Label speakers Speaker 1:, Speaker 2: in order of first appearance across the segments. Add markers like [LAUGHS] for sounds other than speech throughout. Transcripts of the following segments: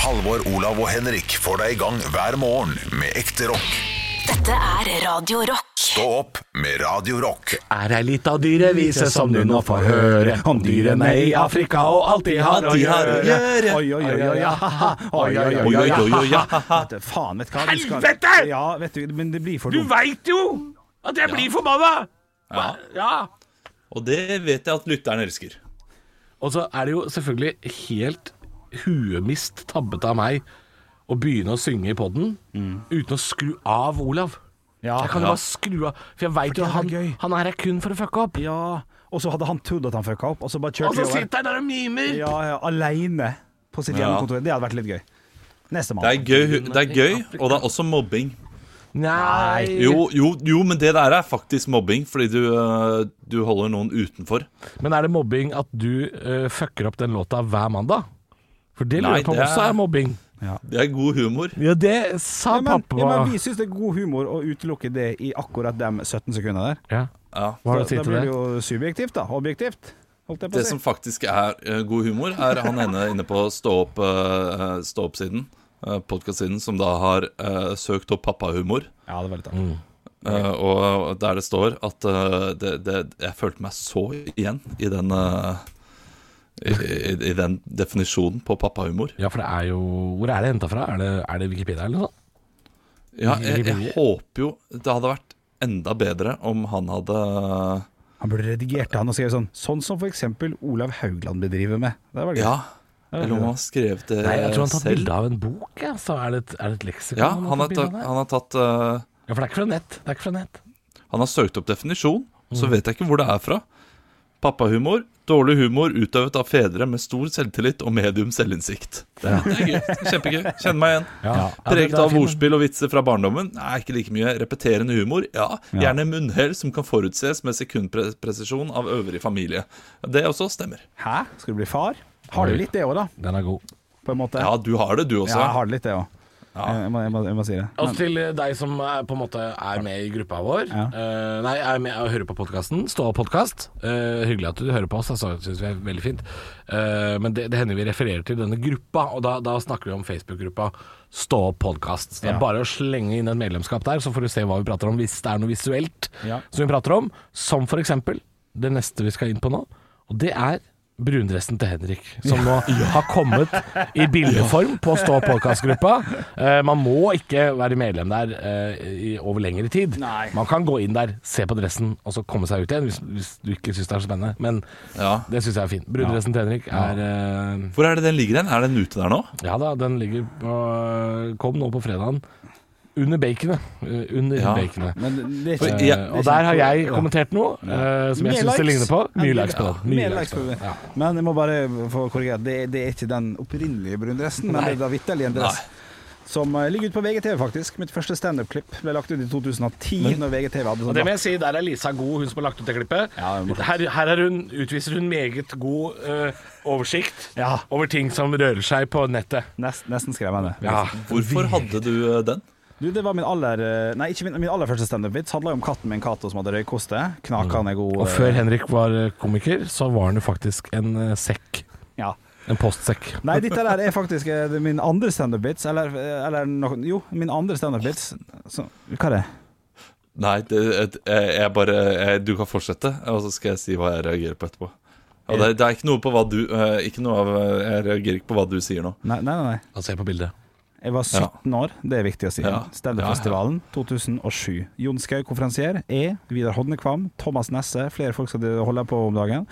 Speaker 1: Halvor, Olav og Henrik får deg i gang hver morgen med ekte rock.
Speaker 2: Dette er Radio Rock.
Speaker 1: Stå opp med Radio Rock.
Speaker 3: Er ei lita dyrevise som du nå får høre om dyrene i Afrika og alt de har å
Speaker 4: de har å
Speaker 3: gjøre.
Speaker 4: gjøre.
Speaker 3: Oi, oi, oi, oi, ja, ha, ha. oi, oi, oi,
Speaker 4: Oi,
Speaker 3: oi,
Speaker 4: oi,
Speaker 3: ja,
Speaker 4: oi,
Speaker 3: ha,
Speaker 4: oi, ja,
Speaker 3: ha.
Speaker 4: ha, ha.
Speaker 3: Vet du, Faen, vet du hva du skal-
Speaker 5: Helvete!
Speaker 3: Ja, vet du, men det blir for
Speaker 5: Du
Speaker 3: dumt.
Speaker 5: veit jo at jeg blir forbanna! Ja. ja.
Speaker 4: Og det vet jeg at lytteren elsker.
Speaker 6: Og så er det jo selvfølgelig helt huemist tabbet av meg å begynne å synge i poden uten å skru av Olav.
Speaker 3: Mm. Ja,
Speaker 6: Jeg kan jo bare skru av, for jeg veit jo
Speaker 3: det er
Speaker 6: han,
Speaker 3: gøy.
Speaker 6: han er her kun for å fucke opp.
Speaker 3: ja. Og så hadde han trodd at han fucka opp, og så bare kjørte
Speaker 6: Og så
Speaker 3: vi over.
Speaker 6: sitter han der og mimer!
Speaker 3: Ja, ja, Aleine på sitt
Speaker 4: Ja.
Speaker 3: hjemmekontor. Det hadde vært litt gøy. Nestemann.
Speaker 4: Det er gøy, det er gøy og det er også mobbing.
Speaker 6: Nei
Speaker 4: Jo, jo, jo, men det der er faktisk mobbing, fordi du, øh, du holder noen utenfor.
Speaker 6: Men er det mobbing at du eh, fucker opp den låta hver mandag? For det lurer
Speaker 4: Nei,
Speaker 6: jeg på om
Speaker 4: det
Speaker 6: også
Speaker 4: er-
Speaker 6: er mobbing.
Speaker 4: Det er god humor.
Speaker 6: Ja, det sa
Speaker 3: Ja, men, ja, men vi syns det er god humor å utelukke det i akkurat de 17 sekundene der.
Speaker 6: Ja.
Speaker 4: Ja.
Speaker 6: Hva har du å si
Speaker 3: Da
Speaker 6: til
Speaker 3: blir det
Speaker 6: det?
Speaker 3: jo subjektivt, da. Objektivt, holdt jeg på
Speaker 4: Det
Speaker 3: å si.
Speaker 4: som faktisk er øh, god humor, er han ene inne på Stå opp, øh, stå opp-siden, øh, podkast-siden, som da har øh, søkt opp pappahumor.
Speaker 3: Ja, det var litt artig.
Speaker 4: Uh, og der det står at uh, det, det, Jeg følte meg så igjen i den uh, i, i, I den definisjonen på pappahumor.
Speaker 6: Ja, for det er jo Hvor er det henta fra? Er det, er det Wikipedia eller noe sånt?
Speaker 4: Ja, jeg, jeg håper jo det hadde vært enda bedre om han hadde
Speaker 3: Han burde redigert det, han og skrevet sånn Sånn som for eksempel Olav Haugland bedriver med. Det var gøy.
Speaker 4: Ja, eller om han skrev det
Speaker 6: Nei, jeg tror han har tatt
Speaker 4: Eh, selv.
Speaker 6: bilde av en bok, ja. Så er det et, er det et leksikon?
Speaker 4: Ja, han
Speaker 6: har
Speaker 4: har
Speaker 6: tatt
Speaker 4: tatt,
Speaker 6: bilde av
Speaker 4: han har tatt uh,
Speaker 6: det? Ja, for det er ikke fra nett. Det er ikke fra nett.
Speaker 4: Han har søkt opp definisjon, og
Speaker 6: Mm.
Speaker 4: så vet jeg ikke hvor det er fra. Pappahumor. Dårlig humor utøvet av fedre med stor selvtillit og medium selvinnsikt. Det er, det er gøy. Det er Kjempegøy. Kjenner meg igjen. Preget av ordspill og vitser fra barndommen? Nei, ikke like mye. Repeterende humor? Ja. Gjerne munnhell som kan forutses med sekundpresisjon av øvrig familie. Det også stemmer.
Speaker 3: Hæ? Skal du bli far? Har du litt det òg, da?
Speaker 6: Den er god.
Speaker 3: På en måte.
Speaker 4: Ja, du har det, du
Speaker 3: Ja, jeg
Speaker 4: også.
Speaker 3: har det litt det òg. Jeg, må- jeg, må- jeg må si det.
Speaker 6: Og Altså til deg som er, på en måte er med i gruppa vår
Speaker 3: Ja.
Speaker 6: eh, Nei, er med og hører på podkasten. Stå opp podkast. Eh, hyggelig at du hører på oss, altså, syns vi er veldig fint. Eh, men det, det hender vi refererer til denne gruppa, og da, da snakker vi om Facebook-gruppa Stå opp podkast. Det er
Speaker 3: Ja.
Speaker 6: bare å slenge inn et medlemskap der, så får du se hva vi prater om hvis det er noe visuelt
Speaker 3: Ja.
Speaker 6: som vi prater om. Som for eksempel det neste vi skal inn på nå, og det er Brundressen til Henrik, som
Speaker 3: [LAUGHS]
Speaker 6: nå har kommet i bildeform på Stå podkast-gruppa. Eh, man må ikke være medlem der eh, i, over lengre tid.
Speaker 3: Nei.
Speaker 6: Man kan gå inn der, se på dressen og så komme seg ut igjen, hvis, hvis du ikke syns det er så spennende. Men
Speaker 4: Ja.
Speaker 6: det syns jeg er fint. Brundressen til Henrik er eh,
Speaker 4: Hvor er det den ligger hen? Er den ute der nå?
Speaker 6: Ja da, den ligger på Kom nå på fredagen. Under baconet. Eh, Under
Speaker 4: Ja.
Speaker 6: baconet.
Speaker 3: Men det er
Speaker 4: For
Speaker 3: ikke det er
Speaker 4: jeg-
Speaker 6: Eh, Og
Speaker 3: ikke-
Speaker 6: der har jeg
Speaker 3: Ja.
Speaker 6: kommentert noe eh, som
Speaker 3: Mye
Speaker 6: jeg syns det
Speaker 3: likes.
Speaker 6: ligner på. Mye
Speaker 3: Ja,
Speaker 6: likes på den.
Speaker 3: mye
Speaker 6: Mye
Speaker 3: likes på
Speaker 6: den.
Speaker 3: den. Men jeg må bare få korrigere. Det, det er ikke den opprinnelige brundressen, men det er da vitterlig en dress.
Speaker 4: Nei.
Speaker 3: Som eh, ligger ute på VGTV, faktisk. Mitt første standup-klipp ble lagt ut i 2010, når VGTV
Speaker 6: Og
Speaker 3: hadde sånn
Speaker 6: det må jeg si, Der er Lisa god, hun som har lagt ut det klippet.
Speaker 3: Ja, det er morsomt.
Speaker 6: her her er hun, utviser hun meget god eh, oversikt
Speaker 3: Ja.
Speaker 6: over ting som rører seg på nettet.
Speaker 3: Nest, Nesten skrev jeg det.
Speaker 6: Ja.
Speaker 4: Hvorfor hadde du eh, den?
Speaker 3: Du, det var min aller eh, Nei, ikke min, min aller første standup-vits. Handla jo om katten min Cato som hadde røykoste. Knakende god
Speaker 6: Og
Speaker 3: eh,
Speaker 6: før Henrik var komiker, så var han jo faktisk en eh, sekk.
Speaker 3: Ja.
Speaker 6: En postsekk.
Speaker 3: Nei, dette der er faktisk eh, det er min andre standup-vits. Eller, eh, eller noe Jo, min andre standup-vits. Så- Hva er det?
Speaker 4: Nei, det, et- jeg, jeg bare jeg, Du kan fortsette, og så skal jeg si hva jeg reagerer på etterpå. Og det, det er ikke noe på hva du eh, Ikke noe av eh, Jeg reagerer ikke på hva du sier nå.
Speaker 3: Nei, nei, nei. nei.
Speaker 6: Altså, se på bildet.
Speaker 3: Jeg var 17 år, det er viktig å si.
Speaker 4: Ja.
Speaker 3: Standupfestivalen 2007. Jon Skaug konferansier. Jeg, Vidar Hodnekvam, Thomas Nesse, flere folk som holder på om dagen,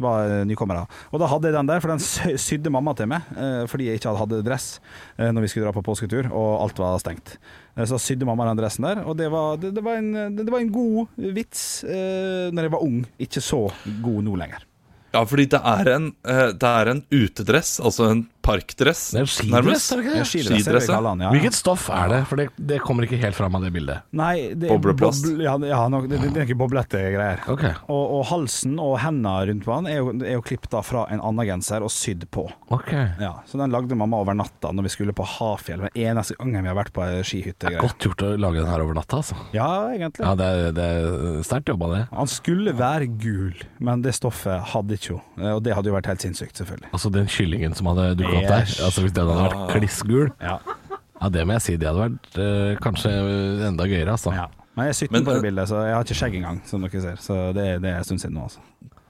Speaker 3: var eh, nykommere. Og da hadde jeg den der, for den sy- sydde mamma til meg, eh, fordi jeg ikke hadde- hadde dress eh, når vi skulle dra på påsketur, og alt var stengt. Eh, Så sydde mamma den dressen der, og det var, det, det var, en, det, det var en god vits eh, når jeg var ung. Ikke så god nå lenger.
Speaker 4: Ja, fordi det er en, eh, det er en utedress, altså en parkdress.
Speaker 6: Det er en skidress,
Speaker 4: nærmest.
Speaker 6: er det ikke
Speaker 3: Det
Speaker 6: det?
Speaker 3: er skidress, jeg vil
Speaker 4: Skidress, ja.
Speaker 3: kalle han, ja.
Speaker 6: Hvilket stoff er det? For det, det kommer ikke helt fram av det bildet.
Speaker 3: Nei, det er
Speaker 4: Bobleplast.
Speaker 3: boble- ja, ja, nok- det, det, det er ikke boblete greier.
Speaker 6: Ok.
Speaker 3: Og, og halsen og hendene rundt på han er jo, er jo klippet da fra en annen genser og sydd på.
Speaker 6: Ok.
Speaker 3: Ja, så den lagde mamma over natta når vi skulle på Hafjell. Den eneste gangen vi har vært på ei skihytte. greier.
Speaker 6: Godt gjort å lage den her over natta, altså.
Speaker 3: Ja, egentlig.
Speaker 6: Ja, det er, det er sterkt jobba, det.
Speaker 3: Han skulle være gul, men det stoffet Eh, hadde ikke hun. Og det hadde jo vært helt sinnssykt, selvfølgelig.
Speaker 6: Altså den kyllingen som hadde dukka dukker opp der. Altså Hvis den hadde vært
Speaker 3: Ah.
Speaker 6: klissgul
Speaker 3: Ja.
Speaker 6: Ja, det må jeg si. Det hadde vært eh, kanskje enda gøyere, altså.
Speaker 3: Ja. Men jeg er 17
Speaker 4: Men,
Speaker 3: på det
Speaker 4: eh,
Speaker 3: bildet, så jeg har ikke skjegg engang, som dere ser. Så det, det er en stund siden nå, altså.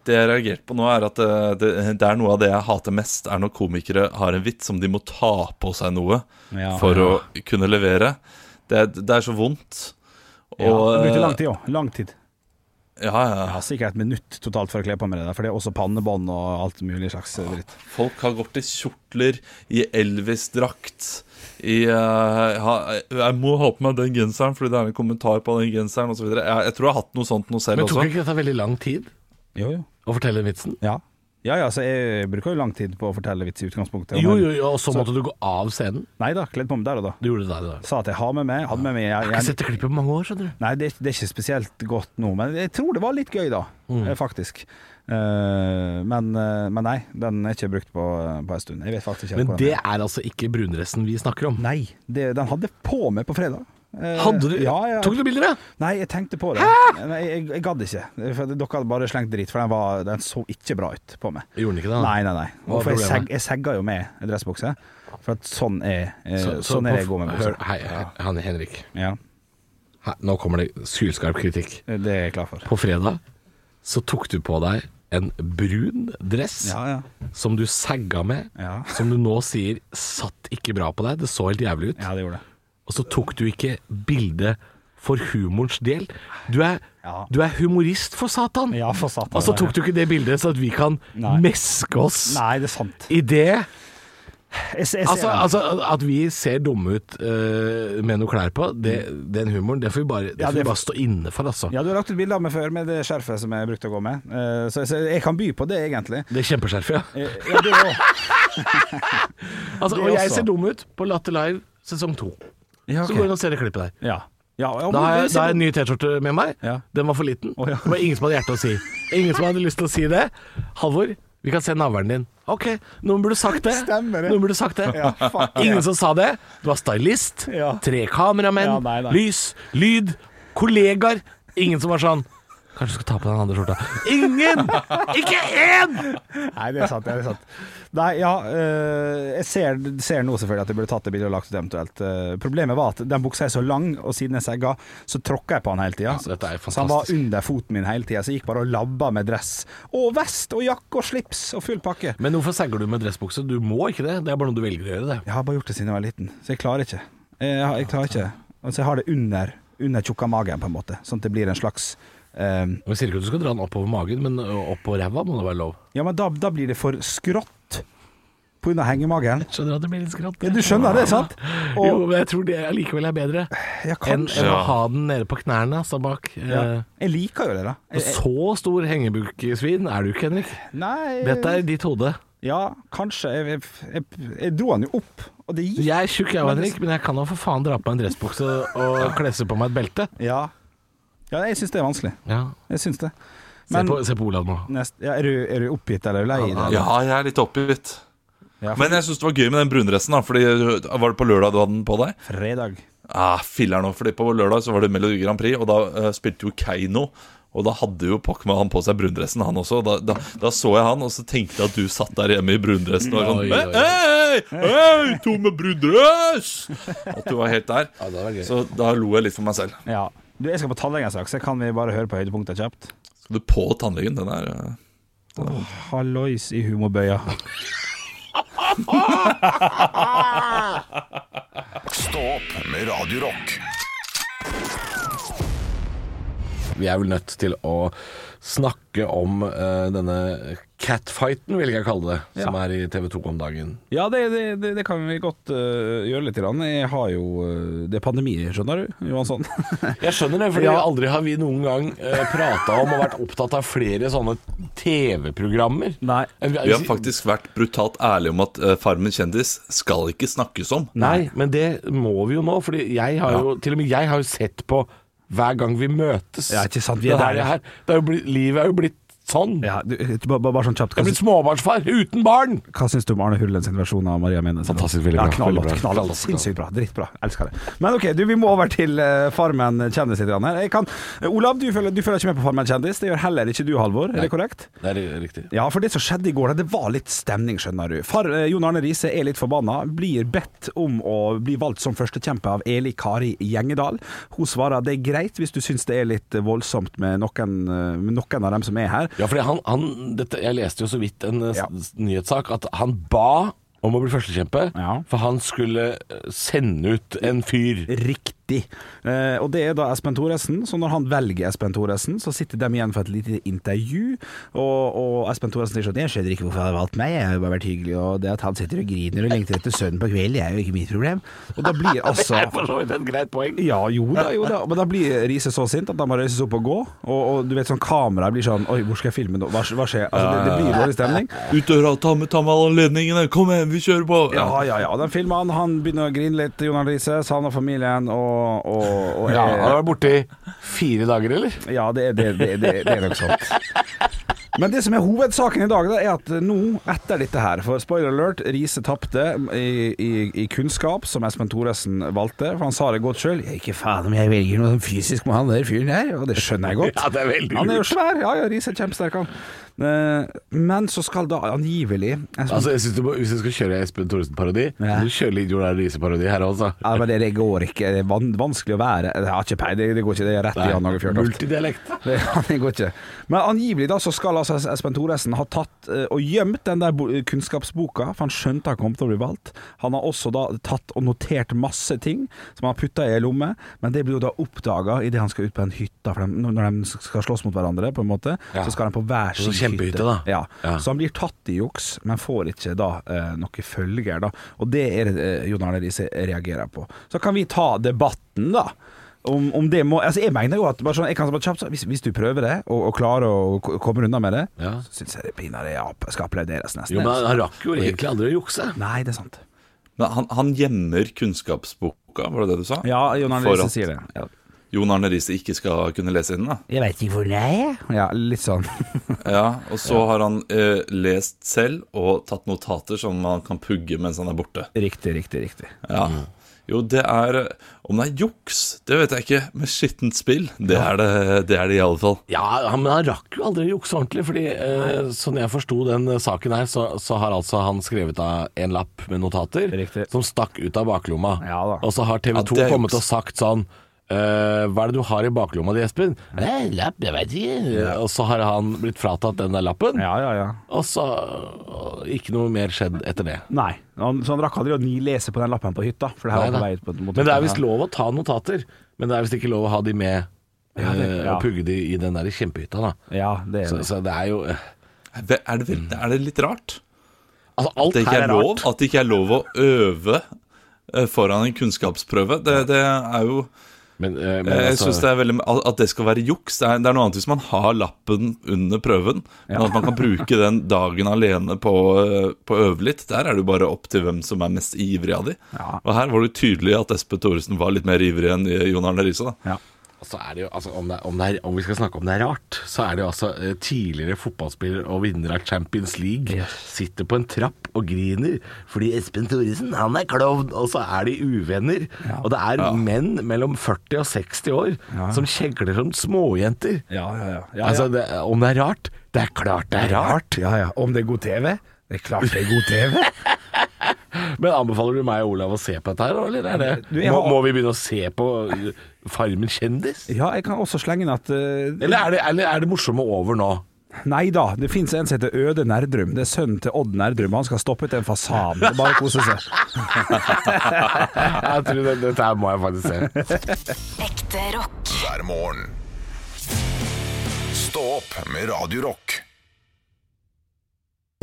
Speaker 4: Det jeg reagerte på nå, er at det, det, det er noe av det jeg hater mest, er når komikere har en vits som de må ta på seg noe
Speaker 3: Ja.
Speaker 4: for å kunne levere. Det, er- det er så vondt. Og eh,
Speaker 3: Ja, det brukte lang tid òg. Lang tid.
Speaker 4: Ja,
Speaker 3: Jeg
Speaker 4: ja.
Speaker 3: har sikkert et minutt totalt for å kle på meg det der, for det er også pannebånd og alt mulig slags dritt.
Speaker 4: Folk har gått i kjortler, i Elvis-drakt, i eh, ha, Jeg må ha på meg den genseren fordi det er en kommentar på den genseren osv. Jeg, jeg tror jeg har hatt noe sånt noe selv
Speaker 6: Men tok
Speaker 4: også.
Speaker 6: ikke dette veldig lang tid
Speaker 3: Jo, jo.
Speaker 6: å fortelle vitsen?
Speaker 3: Ja. Ja, ja, så jeg bruker jo lang tid på å fortelle vits i utgangspunktet.
Speaker 6: Jo, jo, jo, og så måtte du gå av scenen.
Speaker 3: Nei da, kledd på meg der og da.
Speaker 6: Du gjorde det der. da.
Speaker 3: Sa at jeg har med meg, hadde med meg jeg,
Speaker 6: Jeg har ikke sett det klippet på mange år, skjønner du.
Speaker 3: Nei, det, er- det er ikke spesielt godt nå, men jeg tror det var litt gøy da,
Speaker 6: Mm.
Speaker 3: eh, faktisk. Eh, men, eh, men nei, den er ikke brukt på, eh, på en stund. Jeg vet faktisk ikke
Speaker 6: Men
Speaker 3: hvordan
Speaker 6: det er altså ikke brunresten vi snakker om.
Speaker 3: Nei, det, den hadde på meg på fredag. Eh,
Speaker 6: Hadde du
Speaker 3: Ja, ja.
Speaker 6: Tok du bilder, ja?
Speaker 3: Nei, jeg tenkte på det. Nei, jeg, jeg gadd ikke. For dere hadde bare slengt dritt, for den, var, den så ikke bra ut på meg.
Speaker 6: Gjorde den ikke det? da?
Speaker 3: Nei, nei, nei.
Speaker 6: Hva var
Speaker 3: For jeg,
Speaker 6: problemet?
Speaker 3: seg, jeg segga jo med en dressbukse. For at sånn er, eh,
Speaker 6: Så- så
Speaker 3: sånn er
Speaker 6: på-
Speaker 3: jeg god med
Speaker 6: Hør,
Speaker 3: bukser.
Speaker 6: hei, hei, han Henrik.
Speaker 3: Ja,
Speaker 6: Hei, nå kommer det sylskarp kritikk.
Speaker 3: det er jeg klar for.
Speaker 6: På fredag så tok du på deg en brun dress
Speaker 3: Ja, ja.
Speaker 6: som du sagga med,
Speaker 3: Ja.
Speaker 6: som du nå sier satt ikke bra på deg. Det så helt jævlig ut.
Speaker 3: Ja, det gjorde det.
Speaker 6: Og så tok du ikke bilde for humorens del. Du er,
Speaker 3: Ja.
Speaker 6: du er humorist for satan!
Speaker 3: Ja, for satan.
Speaker 6: Og så tok du ikke det bildet, så at vi kan
Speaker 3: Nei.
Speaker 6: meske oss
Speaker 3: Nei, det er sant.
Speaker 6: i det.
Speaker 3: Jeg, jeg, ser
Speaker 6: Altså,
Speaker 3: den.
Speaker 6: altså at vi ser dumme ut eh, med noe klær på, det, den humoren, det får vi bare, det
Speaker 3: Ja,
Speaker 6: får
Speaker 3: det-
Speaker 6: vi bare stå inne for, altså.
Speaker 3: ja, du har lagt ut bilde av meg før med det skjerfet som jeg brukte å gå med, Eh, så, så jeg kan by på det, egentlig.
Speaker 6: Det er kjempeskjerfet, ja.
Speaker 3: Eh, Ja, det òg.
Speaker 6: Altså,
Speaker 3: det
Speaker 6: og jeg
Speaker 3: også.
Speaker 6: ser dum ut på Latter Live sesong to.
Speaker 3: Ja, ok.
Speaker 6: Så går jeg og ser det klippet der.
Speaker 3: Ja. Ja, ja,
Speaker 6: Da
Speaker 3: men
Speaker 6: har
Speaker 3: det
Speaker 6: jeg, da
Speaker 3: ser-
Speaker 6: har jeg en ny T-skjorte med meg.
Speaker 3: Ja.
Speaker 6: Den var for liten.
Speaker 3: Å, ja.
Speaker 6: Det var ingen som hadde hjerte å si. Ingen som hadde lyst til å si det. Halvor, vi kan se navlen din. Ok, noen burde sagt det.
Speaker 3: Stemmer det.
Speaker 6: Noen burde sagt det.
Speaker 3: Ja, fuck, ja.
Speaker 6: ingen som sa det. Du var stylist,
Speaker 3: Ja.
Speaker 6: tre kameramenn,
Speaker 3: Ja, nei, nei.
Speaker 6: lys, lyd, kollegaer. Ingen som var sånn Kanskje du skal ta på den andre skjorta. Ingen! Ikke én!
Speaker 3: Nei, det er sant. Det er sant. Nei, ja, øh, jeg ser, ser nå selvfølgelig at jeg burde tatt det bildet og lagt ut eventuelt. Øh, problemet var at den buksa er så lang, og siden jeg segga, så tråkka jeg på han hele tida.
Speaker 6: så dette er
Speaker 3: så han var
Speaker 6: fantastisk.
Speaker 3: under foten min hele tida, så jeg gikk bare og labba med dress. Og vest og jakke og slips og full pakke.
Speaker 6: Men hvorfor sagger du med dressbukse? Du må ikke det. Det er bare noe du velger å gjøre. det
Speaker 3: Jeg har bare gjort det siden jeg var liten, så jeg klarer ikke. Jeg, har- jeg klarer ikke. Altså, jeg har det under, under tjukka magen, på en måte, sånn at det blir en slags øh,
Speaker 6: Vi sier ikke at du skal dra den oppover magen, men ø, opp på ræva må det være lov.
Speaker 3: Ja, men da, da blir det for skrått på grunn av hengemagen.
Speaker 6: Skjønner at det blir litt skratt.
Speaker 3: Ja, du skjønner det, sant?
Speaker 6: Jo,
Speaker 3: Og,
Speaker 6: men jeg tror det allikevel er bedre
Speaker 3: ja,
Speaker 6: enn
Speaker 3: kanskje.
Speaker 6: enn å ha den nede på knærne, altså bak.
Speaker 3: Ja.
Speaker 6: Eh,
Speaker 3: Jeg liker jo det, da.
Speaker 6: og så stor hengebukesvin er du ikke, Henrik.
Speaker 3: Nei
Speaker 6: Dette er ditt hode.
Speaker 3: Ja, kanskje. Jeg, jeg, jeg, jeg dro han jo opp, og det gikk.
Speaker 6: Jeg er tjukk, jeg òg, Henrik, men jeg kan da for faen dra på meg en dressbukse og klesse på meg et belte.
Speaker 3: Ja. ja jeg syns det er vanskelig.
Speaker 6: Ja.
Speaker 3: Jeg syns det.
Speaker 6: Se,
Speaker 3: Men
Speaker 6: på, se på Olav nå.
Speaker 3: nest, ja, er, du, er du oppgitt eller lei deg? eller?
Speaker 4: Ja, jeg er litt oppgitt.
Speaker 3: Ja, for
Speaker 4: Men jeg syns det var gøy med den brunresten. da Fordi Var det på lørdag du hadde den på deg?
Speaker 3: fredag.
Speaker 4: Ah, filler nå, fordi På lørdag så var det Melodi Grand Prix, og da eh, spilte jo Keiino. Og da hadde jo Pokémon han på seg brundressen, han også. Og da, da, da så jeg han, og så tenkte jeg at du satt der hjemme i brundressen og var
Speaker 6: Oi,
Speaker 4: sånn
Speaker 6: oi, oi.
Speaker 4: Hei, hei, to med brundress! At du var helt der.
Speaker 6: det var gøy.
Speaker 4: Så da lo jeg litt for meg selv.
Speaker 3: Ja. Du, jeg skal på tannlegen straks, så kan vi bare høre på høydepunktet kjapt?
Speaker 4: Skal du på tannlegen? Den er eh,
Speaker 3: Hallois i humorbøya.
Speaker 1: Stå opp med Radio Rock.
Speaker 6: Vi er vel nødt til å snakke om eh, denne catfighten, vil jeg kalle det, som
Speaker 3: Ja.
Speaker 6: er i TV 2 om dagen.
Speaker 3: Ja, det, det, det, det kan vi godt øh, gjøre litt. Grann. Jeg har jo øh, Det er pandemi, skjønner du, Johansson.
Speaker 6: Jeg skjønner det, for
Speaker 3: Ja.
Speaker 6: aldri har vi noen gang uh, prata om og vært opptatt av flere sånne TV-programmer. Eh,
Speaker 3: Nei.
Speaker 6: Enn
Speaker 4: Vi har faktisk vært brutalt ærlige om at eh, Farmen kjendis skal ikke snakkes om.
Speaker 6: Nei, men det må vi jo nå, for jeg har jo Til og med jeg har jo sett på hver gang vi møtes.
Speaker 3: Ja, ikke sant, vi er
Speaker 6: Det her,
Speaker 3: der, ja.
Speaker 6: det her. Det er jo blitt, livet er jo blitt sånn.
Speaker 3: [LAUGHS] Ja, du, du, bare, bare sånn kjapt
Speaker 6: Jeg
Speaker 3: Hva,
Speaker 6: er blitt småbarnsfar uten barn!
Speaker 3: sy- hva syns du om Arne Hullen sin versjon av Maria Mene?
Speaker 6: Fantastisk, veldig bra,
Speaker 3: Ja, knallhot,
Speaker 6: veldig bra.
Speaker 3: knallhot, Sinnssykt bra. Drittbra. Elsker det. Men OK, du, vi må over til eh, Farmen kjendis litt. grann her. Jeg kan, Eh, Olav, du følger, du følger ikke med på Farmen kjendis. Det gjør heller ikke du, Halvor. Er det korrekt?
Speaker 6: Det er riktig.
Speaker 3: Ja, for det som skjedde i går, det var litt stemning, skjønner du. Far, eh, Jon Arne Riise er litt forbanna. Blir bedt om å bli valgt som førstekjempe av Eli Kari Gjengedal. Hun svarer det er greit hvis du syns det er litt voldsomt med noen, eh, med noen av dem som er her.
Speaker 6: Ja, fordi han, han dette, Jeg leste jo så vidt en eh, s-
Speaker 3: Ja.
Speaker 6: s- nyhetssak at han ba om å bli førstekjempe,
Speaker 3: Ja.
Speaker 6: for han skulle eh, sende ut en fyr.
Speaker 3: Riktig. Eh, og det er da Espen Thoresen. Så når han velger Espen Thoresen, så sitter de igjen for et lite intervju. Og, og Espen Thoresen sier sånn Jeg skjønner ikke hvorfor han har valgt meg, jeg har jo bare vært hyggelig. Og det at han sitter og griner og lengter etter sønnen på kvelden, det er jo ikke mitt problem. Og da blir altså
Speaker 6: for så vidt et greit poeng.
Speaker 3: Ja, jo da, jo da. Men da blir Riise så sint at han må reise seg opp og gå. Og, og du vet sånn kameraet blir sånn Oi, hvor skal jeg filme nå? Hva, hva skjer? Altså, det, det blir dårlig stemning.
Speaker 4: Ut døra, ta med, ta med alle ledningene, kom igjen, vi kjører på!
Speaker 3: Ja, ja, ja. Den filmen, han, han begynner å grine litt, Jon Arne Riise. Savner familien og, og, og
Speaker 6: Ja, Han har vært borte i fire dager, eller?
Speaker 3: Ja, det, er- det, det, det, det er nok sant. Men det som er hovedsaken i dag, da, er at nå, etter dette her For spoiler alert, Riise tapte i, i, i kunnskap, som Espen Thoresen valgte. For han sa det godt sjøl. Ikke faen om jeg velger noe sånn fysisk med han der fyren der, og det skjønner jeg godt.
Speaker 6: Ja, det er veldig
Speaker 3: Han er jo
Speaker 6: lurt.
Speaker 3: svær. Ja, ja, Riise er kjempesterk, han. Eh, Men så skal da angivelig eh, Espen
Speaker 6: Altså, jeg synes du må, Hvis du skal kjøre Espen Thoresen-parodi,
Speaker 3: Ja.
Speaker 6: må du kjøre litt Jon Arne Riise-parodi her også.
Speaker 3: ja, men det, det går ikke. Det er van vanskelig å være Jeg har ikke peiling, det, det går ikke. Det er rett i Jan Åge Fjørtoft.
Speaker 6: Multidialekt.
Speaker 3: [LAUGHS] Det, det går ikke. Men angivelig da så skal altså Espen Thoresen ha tatt eh, og gjemt den der bo- kunnskapsboka, for han skjønte han kom til å bli valgt. Han har også da tatt og notert masse ting som han har putta i ei lomme, men det blir jo da oppdaga idet han skal ut på en hytte, for de, når de skal slåss mot hverandre, på en måte,
Speaker 6: Ja.
Speaker 3: så skal de på hver
Speaker 6: Sånn
Speaker 3: sin
Speaker 6: kjempehytte,
Speaker 3: hytte.
Speaker 6: da.
Speaker 3: Ja.
Speaker 6: Ja.
Speaker 3: Så han blir tatt i juks, men får ikke da eh, noe følger, da. Og det er det eh, Jon Arne Riise reagerer på. Så kan vi ta debatten, da. Om, om det må Altså, jeg mener jo at bare sånn, jeg kan bare kjapt, si, hvis, hvis du prøver det, og, og klarer å ko- komme unna med det,
Speaker 6: Ja.
Speaker 3: så syns jeg det pinadø ja, skal applauderes nesten.
Speaker 6: Jo, men han rakk jo egentlig aldri å jukse.
Speaker 3: Nei, det er sant.
Speaker 4: Men han, han gjemmer kunnskapsboka, var det det du sa?
Speaker 3: Ja, Jon Arne
Speaker 4: For
Speaker 3: Riise
Speaker 4: at-
Speaker 3: sier det. Ja.
Speaker 4: Jon Arne Riise ikke skal kunne lese i den, da.
Speaker 3: Jeg veit ikke hvor det er. Ja, litt sånn. [LAUGHS]
Speaker 4: Ja, og så har han eh, lest selv og tatt notater som han kan pugge mens han er borte.
Speaker 3: Riktig, riktig, riktig.
Speaker 4: Ja. Jo, det er Om det er juks, det vet jeg ikke, men skittent spill, det er det, det, er det i alle fall.
Speaker 6: Ja, han, men han rakk jo aldri å jukse ordentlig, fordi eh, sånn jeg forsto den eh, saken her, så, så har altså han skrevet av en lapp med notater
Speaker 3: Riktig.
Speaker 6: som stakk ut av baklomma.
Speaker 3: Ja da.
Speaker 6: Og så har TV 2
Speaker 4: Ja, det er
Speaker 6: kommet
Speaker 4: juks.
Speaker 6: og sagt sånn eh, hva er det du har i baklomma di, Espen? Nei, lapp, jeg vet ikke. Og så har han blitt fratatt den der lappen,
Speaker 3: Ja, ja, ja.
Speaker 6: og så og ikke noe mer skjedd etter det.
Speaker 3: Nei. Han, så han rakk aldri å nilese på den lappen på hytta. For det her
Speaker 6: Nei,
Speaker 3: var
Speaker 6: da.
Speaker 3: på vei ut på, mot
Speaker 6: Men det
Speaker 3: hytta.
Speaker 6: er visst lov å ta notater, men det er visst ikke lov å ha de med
Speaker 3: Ja, det-
Speaker 6: eh,
Speaker 3: ja.
Speaker 6: og pugge de i den der kjempehytta, da.
Speaker 3: Ja, det er
Speaker 6: Så,
Speaker 3: det.
Speaker 6: så det er jo eh,
Speaker 4: Er det, er det, vel- er det litt rart?
Speaker 6: Altså, alt
Speaker 4: Det ikke
Speaker 6: her
Speaker 4: er
Speaker 6: er
Speaker 4: lov,
Speaker 6: rart.
Speaker 4: at det ikke er lov å øve eh, foran en kunnskapsprøve. Det, det er jo
Speaker 6: Men, eh, men
Speaker 4: Eh, Jeg
Speaker 6: altså-
Speaker 4: synes det er veldig At det skal være juks, det er, det er noe annet hvis man har lappen under prøven, men at man kan bruke den dagen alene på, eh, på å øve litt, der er det jo bare opp til hvem som er mest ivrig av de.
Speaker 3: Ja.
Speaker 4: Og her var det jo tydelig at Espen Thoresen var litt mer ivrig enn eh, Jon Arne Riise, da.
Speaker 3: Ja.
Speaker 6: Så er det jo, altså, om, det er, om, det er, om vi skal snakke om det er rart, så er det jo altså eh, tidligere fotballspiller og vinner av Champions League sitter på en trapp og griner fordi Espen Thoresen, han er klovn, og så er de uvenner. Og det er menn mellom 40 og 60 år som kjegler som småjenter.
Speaker 3: Ja, ja, ja. ja,
Speaker 6: Altså, det, om det er rart? Det er klart det er rart.
Speaker 3: Ja, ja. Om det er god TV? Det er klart det er
Speaker 6: [LAUGHS]
Speaker 3: god TV.
Speaker 6: Men anbefaler du meg og Olav å se på dette her, eller er det,
Speaker 3: Du, jeg
Speaker 6: må,
Speaker 3: har-
Speaker 6: må vi begynne å se på eh, Farmen kjendis?
Speaker 3: ja, jeg kan også slenge inn at eh,
Speaker 6: Eller er det, eller er det morsomme over nå? [LAUGHS]
Speaker 3: Nei da, det fins en som heter Øde Nerdrum. Det er sønnen til Odd Nerdrum. Han skal stoppe ut en fasan. Det er Bare å kose seg.
Speaker 6: [LAUGHS] Jeg tror det, dette her må jeg faktisk se.
Speaker 2: Ekte rock.
Speaker 1: hver morgen. Stå opp med Radio Rock.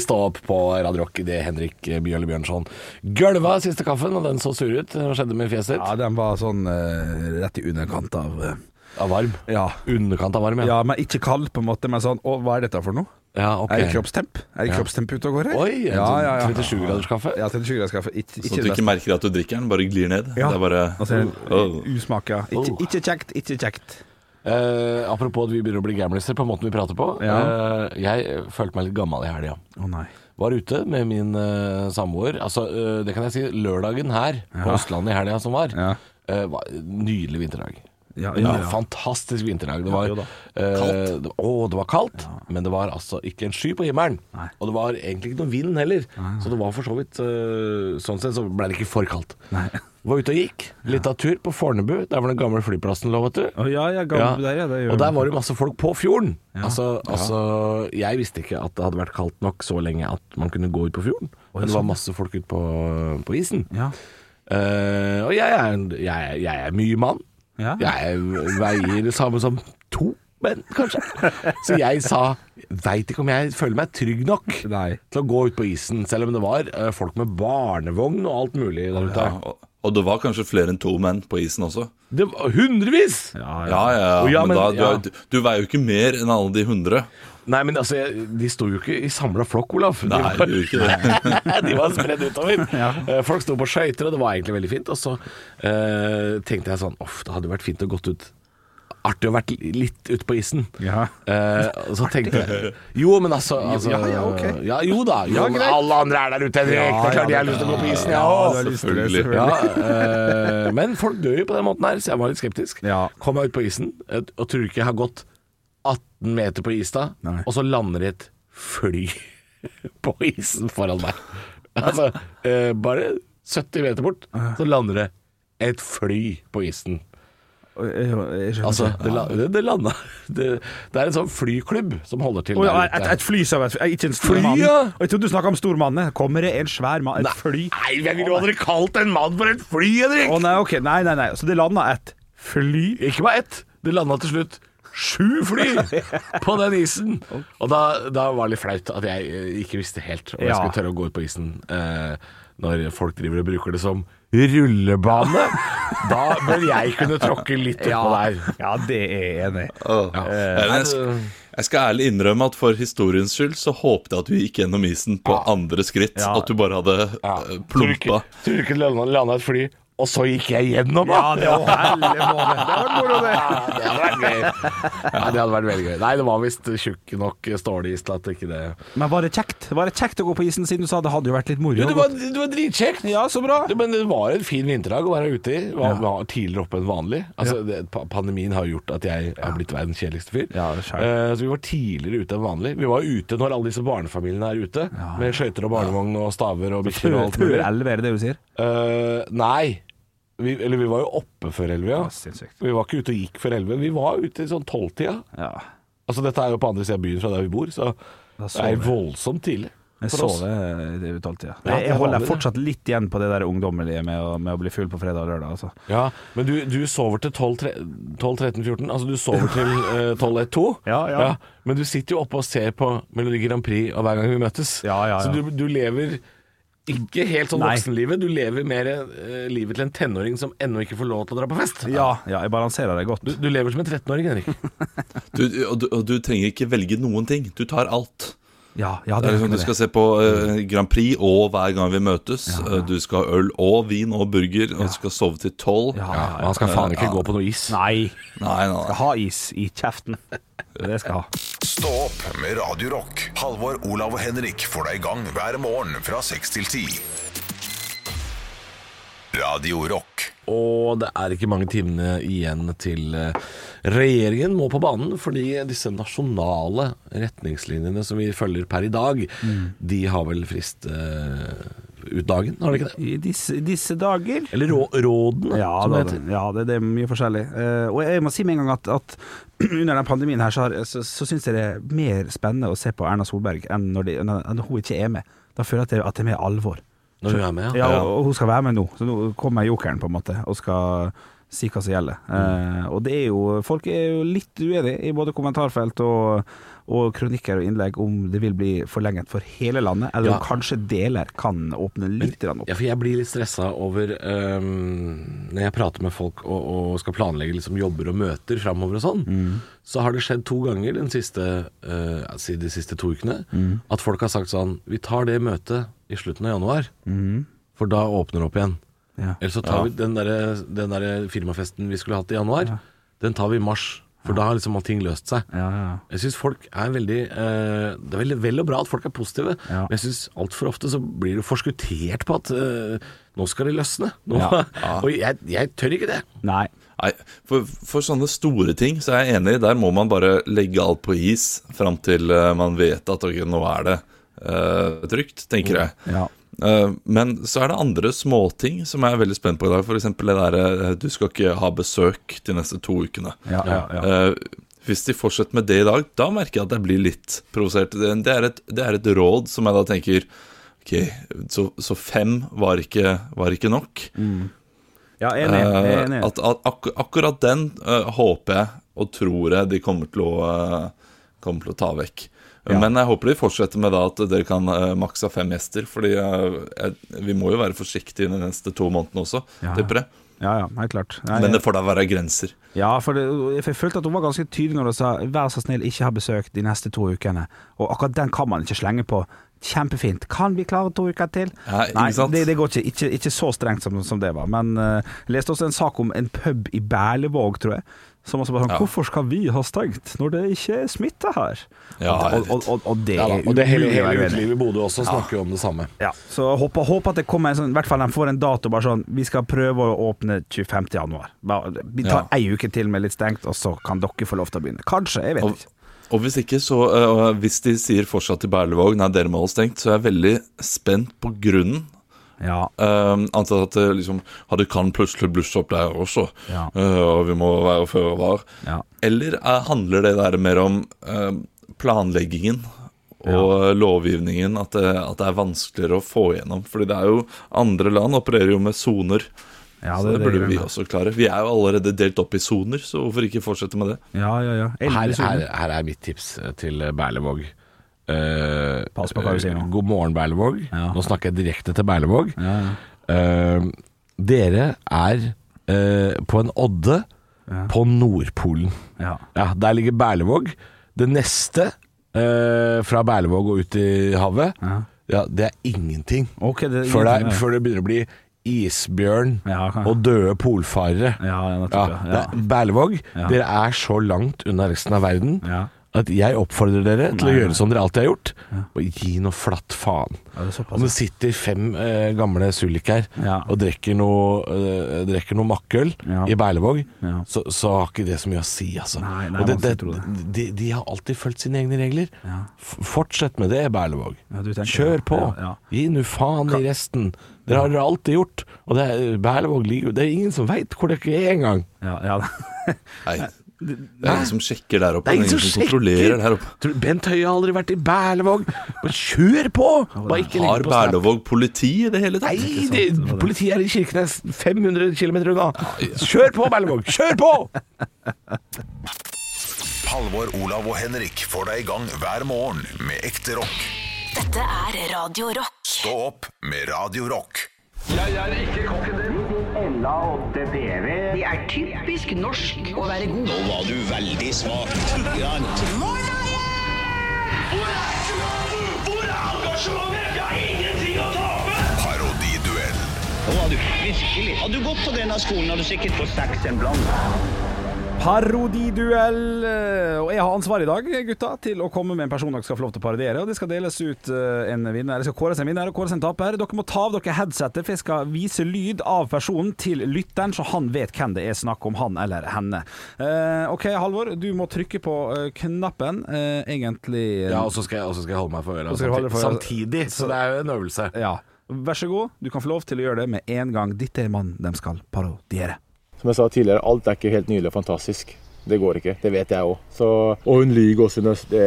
Speaker 6: Stå opp på Radio Rock idet Henrik Bjørle Bjørnson gølva siste kaffen, og den så sur ut. Hva skjedde med fjeset
Speaker 3: Ja,
Speaker 6: ditt?
Speaker 3: den var sånn eh, rett i underkant av eh,
Speaker 6: Av varm?
Speaker 3: ja.
Speaker 6: Underkant av varm, ja.
Speaker 3: ja, men ikke kald, på en måte, men sånn Å, hva er dette for noe?
Speaker 6: Ja, ok.
Speaker 3: Er det kroppstemp? Er det kroppstemp ute og går her?
Speaker 6: Oi, en
Speaker 3: ja, ja, ja.
Speaker 6: 37-graders kaffe.
Speaker 3: Ja, til en sugardskaffe. Ikke,
Speaker 4: Sånn
Speaker 3: ikke
Speaker 4: at du
Speaker 3: det
Speaker 4: ikke merker at du drikker den, bare glir ned.
Speaker 3: Ja.
Speaker 4: Det er bare
Speaker 6: Oh.
Speaker 3: Altså,
Speaker 4: Åh.
Speaker 3: usmaka. Ikke, ikke kjekt, ikke kjekt.
Speaker 6: Eh, apropos at vi begynner å bli gamliser på måten vi prater på.
Speaker 3: Ja.
Speaker 6: Eh, jeg følte meg litt gammel i helga.
Speaker 3: Å nei.
Speaker 6: Var ute med min eh, samboer. Altså, eh, det kan jeg si, lørdagen her på Østlandet i helga som var,
Speaker 3: Ja.
Speaker 6: eh, var en nydelig vinterdag.
Speaker 3: Ja,
Speaker 6: Det var
Speaker 3: ja.
Speaker 6: en Fantastisk vinterdag. Det var,
Speaker 3: jo da.
Speaker 6: eh, det, å, det var kaldt, men det var altså ikke en sky på himmelen.
Speaker 3: Nei.
Speaker 6: Og det var egentlig ikke noe vind heller, så det var for så vidt eh, Sånn sett så ble det ikke for kaldt.
Speaker 3: Nei.
Speaker 6: Var ute og gikk. Litt av tur på Fornebu, der hvor den gamle flyplassen lå, vet du.
Speaker 3: Å, ja, ja, gammel der, ja. Det gjør
Speaker 6: og der
Speaker 3: vi.
Speaker 6: var det masse folk på fjorden. Altså, altså, jeg visste ikke at det hadde vært kaldt nok så lenge at man kunne gå ut på fjorden. Men
Speaker 3: sånn,
Speaker 6: det var masse folk ute på, på isen.
Speaker 3: ja.
Speaker 6: Eh, og jeg er, en- jeg, er- jeg er mye mann.
Speaker 3: Ja.
Speaker 6: Jeg veier det samme som to menn,
Speaker 3: [LAUGHS]
Speaker 6: kanskje. Så jeg sa veit ikke om jeg føler meg trygg nok
Speaker 3: Nei.
Speaker 6: til å gå ut på isen, selv om det var eh, folk med barnevogn og alt mulig der ute.
Speaker 4: Ja, og, og det var kanskje flere enn to menn på isen også.
Speaker 6: Det var hundrevis!
Speaker 4: Ja, ja, ja,
Speaker 6: Å, ja,
Speaker 4: men,
Speaker 6: men-
Speaker 4: da,
Speaker 6: ja.
Speaker 4: du, er- du veier jo ikke mer enn alle de hundre.
Speaker 6: Nei, men altså, jeg, de sto jo ikke i samla flokk, Olaf. De
Speaker 4: Nei,
Speaker 6: var-
Speaker 4: du gjør ikke det.
Speaker 6: [LAUGHS] de var spredd
Speaker 3: [LAUGHS]
Speaker 6: utover. Eh, Folk sto på skøyter, og det var egentlig veldig fint. Og så eh, tenkte jeg sånn Uff, det hadde vært fint å gått ut. Artig å vært li- litt ute på isen.
Speaker 3: Ja.
Speaker 6: Eh, og så tenkte jeg Jo, men altså, altså
Speaker 3: ja, ja, ok.
Speaker 6: ja, Jo da. Jo,
Speaker 3: Ja,
Speaker 6: men
Speaker 3: greit.
Speaker 6: alle andre er der ute, Henrik. det er klart jeg har lyst til å gå på isen, jeg òg.
Speaker 3: du har lyst til det,
Speaker 4: selvfølgelig.
Speaker 6: Ja, eh, men folk dør jo på den måten her, så jeg var litt skeptisk.
Speaker 3: Ja.
Speaker 6: Kom meg ut på isen, eh, og tror ikke jeg har gått 18 meter på is da,
Speaker 3: Nei.
Speaker 6: og så lander et fly [LAUGHS] på isen foran meg. Altså, eh, bare 70 meter bort, så lander det et fly på isen.
Speaker 3: Jeg- jeg- jeg skjønner
Speaker 6: Altså,
Speaker 3: ikke.
Speaker 6: det, la- det, det landa det, det er en sånn flyklubb som holder til
Speaker 3: Å, ja,
Speaker 6: der
Speaker 3: et,
Speaker 6: ute.
Speaker 3: et fly, sa jeg. Ikke en stor
Speaker 6: Fly,
Speaker 3: mann.
Speaker 6: ja.
Speaker 3: Og Jeg trodde du snakka om stor mann. Kommer det en svær mann? Et fly?
Speaker 6: Nei, jeg ville jo aldri kalt en mann for et fly, Henrik!
Speaker 3: Å nei, ok. Nei, nei, nei. Så det landa et fly?
Speaker 6: Ikke bare ett. Det landa til slutt sju fly på den isen. Og da, da var det litt flaut at jeg eh, ikke visste helt om jeg
Speaker 3: Ja.
Speaker 6: skulle tørre å gå ut på isen eh, når folk driver og bruker det som rullebane. Da bør jeg kunne tråkke litt oppå der.
Speaker 3: Ja, det er jeg enig i.
Speaker 4: Ja, men jeg,
Speaker 6: Eh,
Speaker 4: sk- jeg skal ærlig innrømme at for historiens skyld så håpte jeg at du gikk gjennom isen på andre skritt.
Speaker 3: Ja.
Speaker 4: At du bare hadde eh,
Speaker 6: Tror du ikke,
Speaker 4: plumpa.
Speaker 6: tror du ikke det landa et fly, og så gikk jeg gjennom, da?
Speaker 3: det var helle måned. Det var moro, det.
Speaker 6: Ja, det hadde vært gøy. Ja, det hadde vært veldig gøy. Nei, det var visst tjukk nok stålis til at ikke det
Speaker 3: Men var det kjekt? Var det kjekt å gå på isen siden du sa det hadde jo vært litt moro?
Speaker 6: Jo, det
Speaker 3: å gå-
Speaker 6: var, det var dritkjekt.
Speaker 3: Ja, så bra.
Speaker 6: Ja, Men det var en fin vinterdag å være ute i. Var, var tidligere oppe enn vanlig. Altså, det, pa- pandemien har jo gjort at jeg har blitt verdens kjedeligste fyr.
Speaker 3: Ja, det er skjønt.
Speaker 6: Eh, så vi var tidligere ute enn vanlig. Vi var ute når alle disse barnefamiliene er ute, med skøyter og barnevogn og staver og bikkjer og alt
Speaker 3: Før
Speaker 6: mulig.
Speaker 3: elleve, er det det du sier?
Speaker 6: Eh, nei. Vi, eller vi var jo oppe før elleve, ja.
Speaker 3: Ja, sinnssykt.
Speaker 6: Vi var ikke ute og gikk før elleve. Vi var ute i sånn tolvtida.
Speaker 3: Ja.
Speaker 6: Altså, dette er jo på andre siden av byen fra der vi bor, så
Speaker 3: Da
Speaker 6: det er
Speaker 3: sover jeg.
Speaker 6: voldsomt tidlig.
Speaker 3: Jeg
Speaker 6: for oss.
Speaker 3: sover i det uttalte,
Speaker 6: Ja,
Speaker 3: ja. Jeg
Speaker 6: det
Speaker 3: holder
Speaker 6: var det.
Speaker 3: fortsatt litt igjen på det der ungdommelige med å, med å bli full på fredag og lørdag, altså.
Speaker 6: Ja, men du, du sover til 12-13-14 Altså du sover
Speaker 3: [LAUGHS]
Speaker 6: til eh, 12-1-2
Speaker 3: Ja, ja.
Speaker 6: Men du sitter jo oppe og ser på Melodi Grand Prix Og hver gang vi møttes
Speaker 3: Ja, ja, ja.
Speaker 6: Så du, du lever ikke helt sånn
Speaker 3: Nei.
Speaker 6: voksenlivet Du lever mer eh, livet til en tenåring Som enda ikke får lov til å dra på fest
Speaker 3: Ja, ja, jeg balanserer det godt.
Speaker 6: Du, du lever som en 13-åring, Henrik
Speaker 4: Du, og, du, og du trenger ikke velge noen ting. Du tar alt.
Speaker 3: Ja, ja,
Speaker 4: Det er liksom, du skal se på eh, Grand Prix og hver gang vi møtes. Eh, Du skal ha øl og vin og burger, og du skal sove til tolv.
Speaker 3: Ja,
Speaker 6: ja, Han skal faen ikke gå på noe is
Speaker 3: Nei.
Speaker 4: Nei, nei, nei.
Speaker 3: Ha is i kjeften. Det skal jeg ha.
Speaker 1: Stå opp med Radio Rock. Halvor, Olav og Henrik får deg i gang hver morgen fra 6 til 10. Radio Rock.
Speaker 6: Og det er ikke mange timene igjen til eh, regjeringen må på banen, fordi disse nasjonale retningslinjene som vi følger per i dag,
Speaker 3: Mm.
Speaker 6: de har vel frist eh, ut dagen, har de ikke det?
Speaker 3: I disse, disse dager
Speaker 6: Eller rå, rådene,
Speaker 3: Ja,
Speaker 6: som
Speaker 3: da,
Speaker 6: det heter.
Speaker 3: ja det, det er mye forskjellig. Eh, og jeg må si med en gang at, at [CLEARS THROAT] under den pandemien her, så, har, så, så syns jeg det er mer spennende å se på Erna Solberg enn når, de, når når hun ikke er med. Da føler jeg at det, at det er mer alvor.
Speaker 6: Når hun er med,
Speaker 3: Ja, og, og hun skal være med nå, så nå kommer jokeren, på en måte, og skal si hva som gjelder. Eh, og det er jo Folk er jo litt uenige i både kommentarfelt og, og kronikker og innlegg om det vil bli forlenget for hele landet, eller
Speaker 6: Ja.
Speaker 3: om kanskje deler kan åpne litt grann opp.
Speaker 6: Ja, for jeg blir litt stressa over øhm, Når jeg prater med folk og, og skal planlegge liksom, jobber og møter framover og sånn,
Speaker 3: Mm.
Speaker 6: så har det skjedd to ganger den siste, øh, ja, si de siste to ukene
Speaker 3: Mm.
Speaker 6: at folk har sagt sånn Vi tar det møtet i slutten av januar, for da åpner det opp igjen.
Speaker 3: Mm. Ja.
Speaker 6: Eller så tar vi den derre den der firmafesten vi skulle hatt i januar, den tar vi i mars. For da har liksom allting løst seg.
Speaker 3: Ja, ja.
Speaker 6: Jeg syns folk er veldig eh, Det er veldig vel og bra at folk er positive,
Speaker 3: Ja.
Speaker 6: men jeg syns altfor ofte så blir det forskuttert på at eh, nå skal det løsne. Nå,
Speaker 3: Ja.
Speaker 6: [LAUGHS] Og jeg, jeg tør ikke det.
Speaker 3: Nei.
Speaker 4: Nei, for, for sånne store ting så er jeg enig. Der må man bare legge alt på is fram til eh, man vet at ok, nå er det eh, trygt, tenker jeg.
Speaker 3: Ja.
Speaker 4: Eh, men så er det andre småting som jeg er veldig spent på i dag. F.eks. det derre du skal ikke ha besøk de neste to ukene.
Speaker 3: Ja, ja, ja.
Speaker 4: Eh, hvis de fortsetter med det i dag, da merker jeg at jeg blir litt provosert. Det det er et, det er et råd som jeg da tenker Ok, så, så fem var ikke, var ikke nok.
Speaker 3: ja enig. Jeg er enig.
Speaker 4: Eh, at, at ak akkurat den eh, håper jeg og tror jeg de kommer til å, eh, kommer til å ta vekk.
Speaker 3: Ja.
Speaker 4: Men jeg håper de fortsetter med da at dere kan uh, maks ha fem gjester. Fordi eh, jeg, vi må jo være forsiktige de neste to månedene også,
Speaker 3: Ja.
Speaker 4: tipper jeg.
Speaker 3: Ja, ja, helt klart. Nei,
Speaker 4: Men det får da være grenser.
Speaker 3: Ja, for det, jeg følte at hun var ganske tydelig når hun sa 'vær så snill, ikke ha besøk de neste to ukene'. Og akkurat den kan man ikke slenge på. Kjempefint. Kan vi klare to uker til?
Speaker 4: Ja, ikke
Speaker 3: Nei,
Speaker 4: sant?
Speaker 3: det, det går ikke, ikke. Ikke så strengt som, som det var. Men eh, jeg leste også en sak om en pub i Berlevåg, tror jeg. Som også bare sånn
Speaker 4: Ja.
Speaker 3: 'Hvorfor skal vi ha stengt når det ikke er smitte her?'
Speaker 4: Ja,
Speaker 3: og, og, og, og det
Speaker 6: Ja, da,
Speaker 3: er
Speaker 6: og det hele,
Speaker 3: umulig å
Speaker 6: hele
Speaker 3: være uenig i.
Speaker 6: utelivet i Bodø også snakker jo om det samme.
Speaker 3: Ja, så jeg håper, håper at det kommer en sånn, i hvert fall de får en dato bare sånn, vi skal prøve å åpne 25. januar. Bare, vi tar
Speaker 4: Ja.
Speaker 3: ei uke til med litt stengt, og så kan dere få lov til å begynne. Kanskje, jeg vet
Speaker 4: Og,
Speaker 3: ikke.
Speaker 4: og hvis ikke, så eh, og Hvis de sier fortsatt til Berlevåg Nei, dere må holde stengt, så er jeg veldig spent på grunnen.
Speaker 3: Ja,
Speaker 4: Uh, antatt at det liksom Ja, det kan plutselig blusse opp der også,
Speaker 3: Ja.
Speaker 4: Eh, og vi må være føre var.
Speaker 3: Ja.
Speaker 4: Eller eh, handler det der mer om eh, planleggingen og eh, lovgivningen, at det, at det er vanskeligere å få igjennom? Fordi det er jo Andre land opererer jo med soner.
Speaker 3: ja,
Speaker 4: så det burde vi
Speaker 3: gjør.
Speaker 4: også klare. Vi er jo allerede delt opp i soner, så hvorfor ikke fortsette med det?
Speaker 3: Ja, ja, ja.
Speaker 6: Her,
Speaker 3: Elleve
Speaker 6: her,
Speaker 3: soner.
Speaker 6: her er mitt tips til Berlevåg. Eh,
Speaker 3: Pass på hva du sier nå.
Speaker 6: God morgen, Berlevåg.
Speaker 3: Ja.
Speaker 6: Nå snakker jeg direkte til Berlevåg. Eh, dere er eh, på en odde på Nordpolen.
Speaker 3: Ja.
Speaker 6: Ja, Der ligger Berlevåg. Det neste eh, fra Berlevåg og ut i havet, ja. det er ingenting.
Speaker 3: Ok, det er
Speaker 6: før, det
Speaker 3: ingenting,
Speaker 6: er,
Speaker 3: ja.
Speaker 6: før det begynner å bli isbjørn
Speaker 3: Ja, kan-
Speaker 6: og døde polfarere.
Speaker 3: Ja, ja,
Speaker 6: Ja,
Speaker 3: nettopp, ja.
Speaker 6: det er Berlevåg,
Speaker 3: Ja.
Speaker 6: dere er så langt unna resten av verden
Speaker 3: Ja.
Speaker 6: at jeg oppfordrer dere til å
Speaker 3: Nei, nei.
Speaker 6: gjøre som dere alltid har gjort, og gi noe flatt faen.
Speaker 3: Ja, det er såpass,
Speaker 6: Om det sitter fem eh, gamle sulik her
Speaker 3: Ja.
Speaker 6: og drikker noe, eh, drikker noe makkøl
Speaker 3: Ja.
Speaker 6: i Berlevåg,
Speaker 3: Ja,
Speaker 6: så, så har ikke det så mye å si, altså.
Speaker 3: Nei, nei,
Speaker 6: og det,
Speaker 3: vanskelig å
Speaker 6: det,
Speaker 3: tro
Speaker 6: de, de har alltid fulgt sine egne regler. F fortsett med det, Berlevåg.
Speaker 3: Ja, du tenker
Speaker 6: Kjør
Speaker 3: det.
Speaker 6: på.
Speaker 3: Ja, ja.
Speaker 6: Gi nå faen i resten. Det har dere alltid gjort. Og det er, Berlevåg ligger jo Det er ingen som veit hvor dere er engang.
Speaker 3: ja, ja. [LAUGHS]
Speaker 4: Nei. Det er ingen som sjekker der oppe.
Speaker 6: Det er ingen som
Speaker 4: kontrollerer der
Speaker 6: sjekker.
Speaker 4: oppe.
Speaker 6: Tror du Bent Høie har aldri vært i Berlevåg. Bare kjør på! Bare ikke legg
Speaker 4: Har
Speaker 6: på snap.
Speaker 4: Berlevåg politi i det hele tatt?
Speaker 6: Nei, det, politiet er i Kirkenes 500 km unna. Kjør på, Berlevåg! Kjør på!
Speaker 1: Halvor, Olav og Henrik får deg i gang hver morgen med ekte rock.
Speaker 2: Dette er Radio Rock.
Speaker 1: Stå opp med Radio Rock.
Speaker 7: Det er typisk norsk å være god.
Speaker 8: Nå var du veldig smak.
Speaker 9: Hvor er gløden? Hvor er engasjementet? Vi har ingenting å tape!
Speaker 1: Parodiduell.
Speaker 8: Nå var du virkelig. Hadde du gått på denne skolen, hadde du sikkert fått seks en blant.
Speaker 3: Parodiduell. eh, Og jeg har ansvar i dag, gutta, til å komme med en person dere skal få lov til å parodiere. Og det skal deles ut eh, en vinner. Det skal kåres en vinner og kåres en taper. Dere må ta av dere headsetet, for jeg skal vise lyd av personen til lytteren, så han vet hvem det er snakk om, han eller henne. Eh, OK, Halvor, du må trykke på eh, knappen. eh, egentlig eh,
Speaker 6: Ja, og så skal, jeg- og så skal jeg holde meg for øra
Speaker 3: Og så skal du holde
Speaker 6: samtidig,
Speaker 3: deg for øra.
Speaker 6: samtidig, så det er jo en øvelse.
Speaker 3: Ja. Vær så god, du kan få lov til å gjøre det med en gang. Dette er mannen de skal parodiere.
Speaker 10: Som jeg sa tidligere, alt er ikke helt nydelig og fantastisk. Det går ikke. Det vet jeg òg. Og hun lyver også under det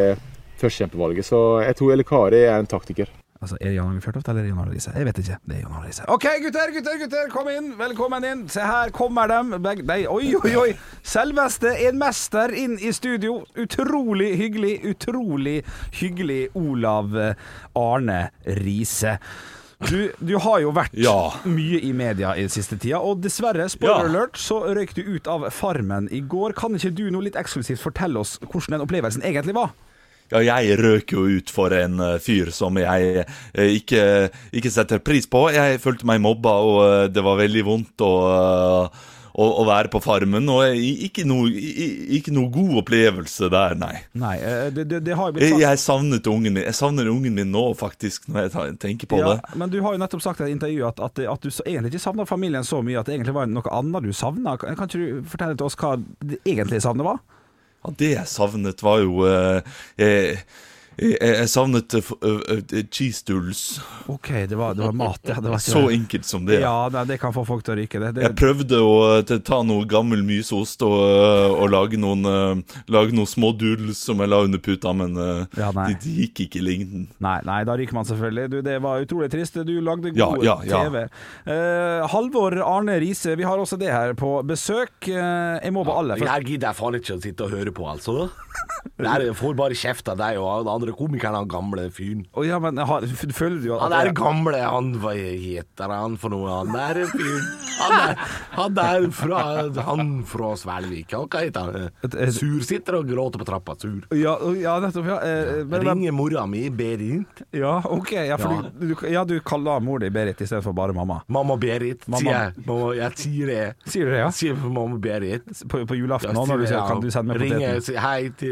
Speaker 10: førstekjempevalget, så jeg tror Elle Kari er en taktiker.
Speaker 3: Altså, Er det Jan Åge Fjørtoft eller er det Jan Arne Riise? Jeg vet ikke. Det er Jan Arne Riise. OK, gutter, gutter, gutter, kom inn. Velkommen inn. Se her kommer dem. Begge, nei, oi, oi, oi. Selveste en mester inn i studio. Utrolig hyggelig, utrolig hyggelig Olav eh, Arne Riise. Du, du har jo vært
Speaker 4: Ja.
Speaker 3: mye i media i den siste tida, og dessverre, spoiler
Speaker 4: Ja.
Speaker 3: alert, så røyk du ut av Farmen i går. Kan ikke du nå litt eksklusivt fortelle oss hvordan den opplevelsen egentlig var?
Speaker 4: Ja, jeg røk jo ut for en eh, fyr som jeg eh, ikke, ikke setter pris på. Jeg følte meg mobba, og eh, det var veldig vondt. Og, eh, å, å være på Farmen. Og i- ikke noe, i- ikke noe god opplevelse der, nei.
Speaker 3: Nei, eh, det, det, det har jo blitt
Speaker 4: Jeg,
Speaker 3: sagt
Speaker 4: jeg savnet ungen min Jeg savner ungen min nå, faktisk, når jeg ta- tenker på det.
Speaker 3: Ja, men du har jo nettopp sagt i et intervju at, at, at du så- egentlig ikke savna familien så mye, at det egentlig var noe annet du savna. Kan kan ikke du fortelle til oss hva det egentlige savnet var?
Speaker 4: Ja, det jeg savnet, var jo eh, jeg, jeg, jeg savnet eh, f- eh, eh, cheese doodles.
Speaker 3: OK, det var, det var mat. Ja, det var ikke
Speaker 4: Så
Speaker 3: det.
Speaker 4: enkelt som det.
Speaker 3: Ja, nei, det kan få folk til å ryke. Det, det,
Speaker 4: Jeg prøvde å eh, t- ta noe gammel myseost og, eh, og lage, noen, eh, lage noen små doodles som jeg la under puta, men eh,
Speaker 3: Ja, nei.
Speaker 4: de, de gikk ikke i lengden.
Speaker 3: Nei, nei, da ryker man selvfølgelig. Du, det var utrolig trist. Du lagde
Speaker 4: Ja,
Speaker 3: god
Speaker 4: ja, ja.
Speaker 3: TV. Eh, Halvor Arne Riise, vi har også det her på besøk. Eh, jeg må bare alle først.
Speaker 6: Jeg gidder faen ikke å sitte og høre på, altså. Det er, jeg får bare kjeft av deg og av den andre komikeren, han gamle fyren.
Speaker 3: Å, ja, men har, f- føler du at
Speaker 6: Han der gamle, han hva heter han for noe? Han der fyren Han der, han der fra Han fra Svelvik, han, hva heter
Speaker 3: Et-
Speaker 6: han?
Speaker 3: et-
Speaker 6: Sur sitter og gråter på trappa, sur.
Speaker 3: ja, ja, nettopp. Ja, eh, men, men,
Speaker 6: Ringer mora mi, Berit.
Speaker 3: ja OK. Ja, for
Speaker 6: Ja.
Speaker 3: Du, du, ja, du kaller mor di Berit istedenfor bare mamma.
Speaker 6: Mamma Berit, sier jeg. Mamma, jeg sier det.
Speaker 3: Sier du det, ja?
Speaker 6: Sier for mamma Berit.
Speaker 3: På, på
Speaker 6: Ja,
Speaker 3: julaften òg, når du sier
Speaker 6: ja.
Speaker 3: 'kan du sende meg
Speaker 6: Ringer og
Speaker 3: poteten'?
Speaker 6: sier hei til,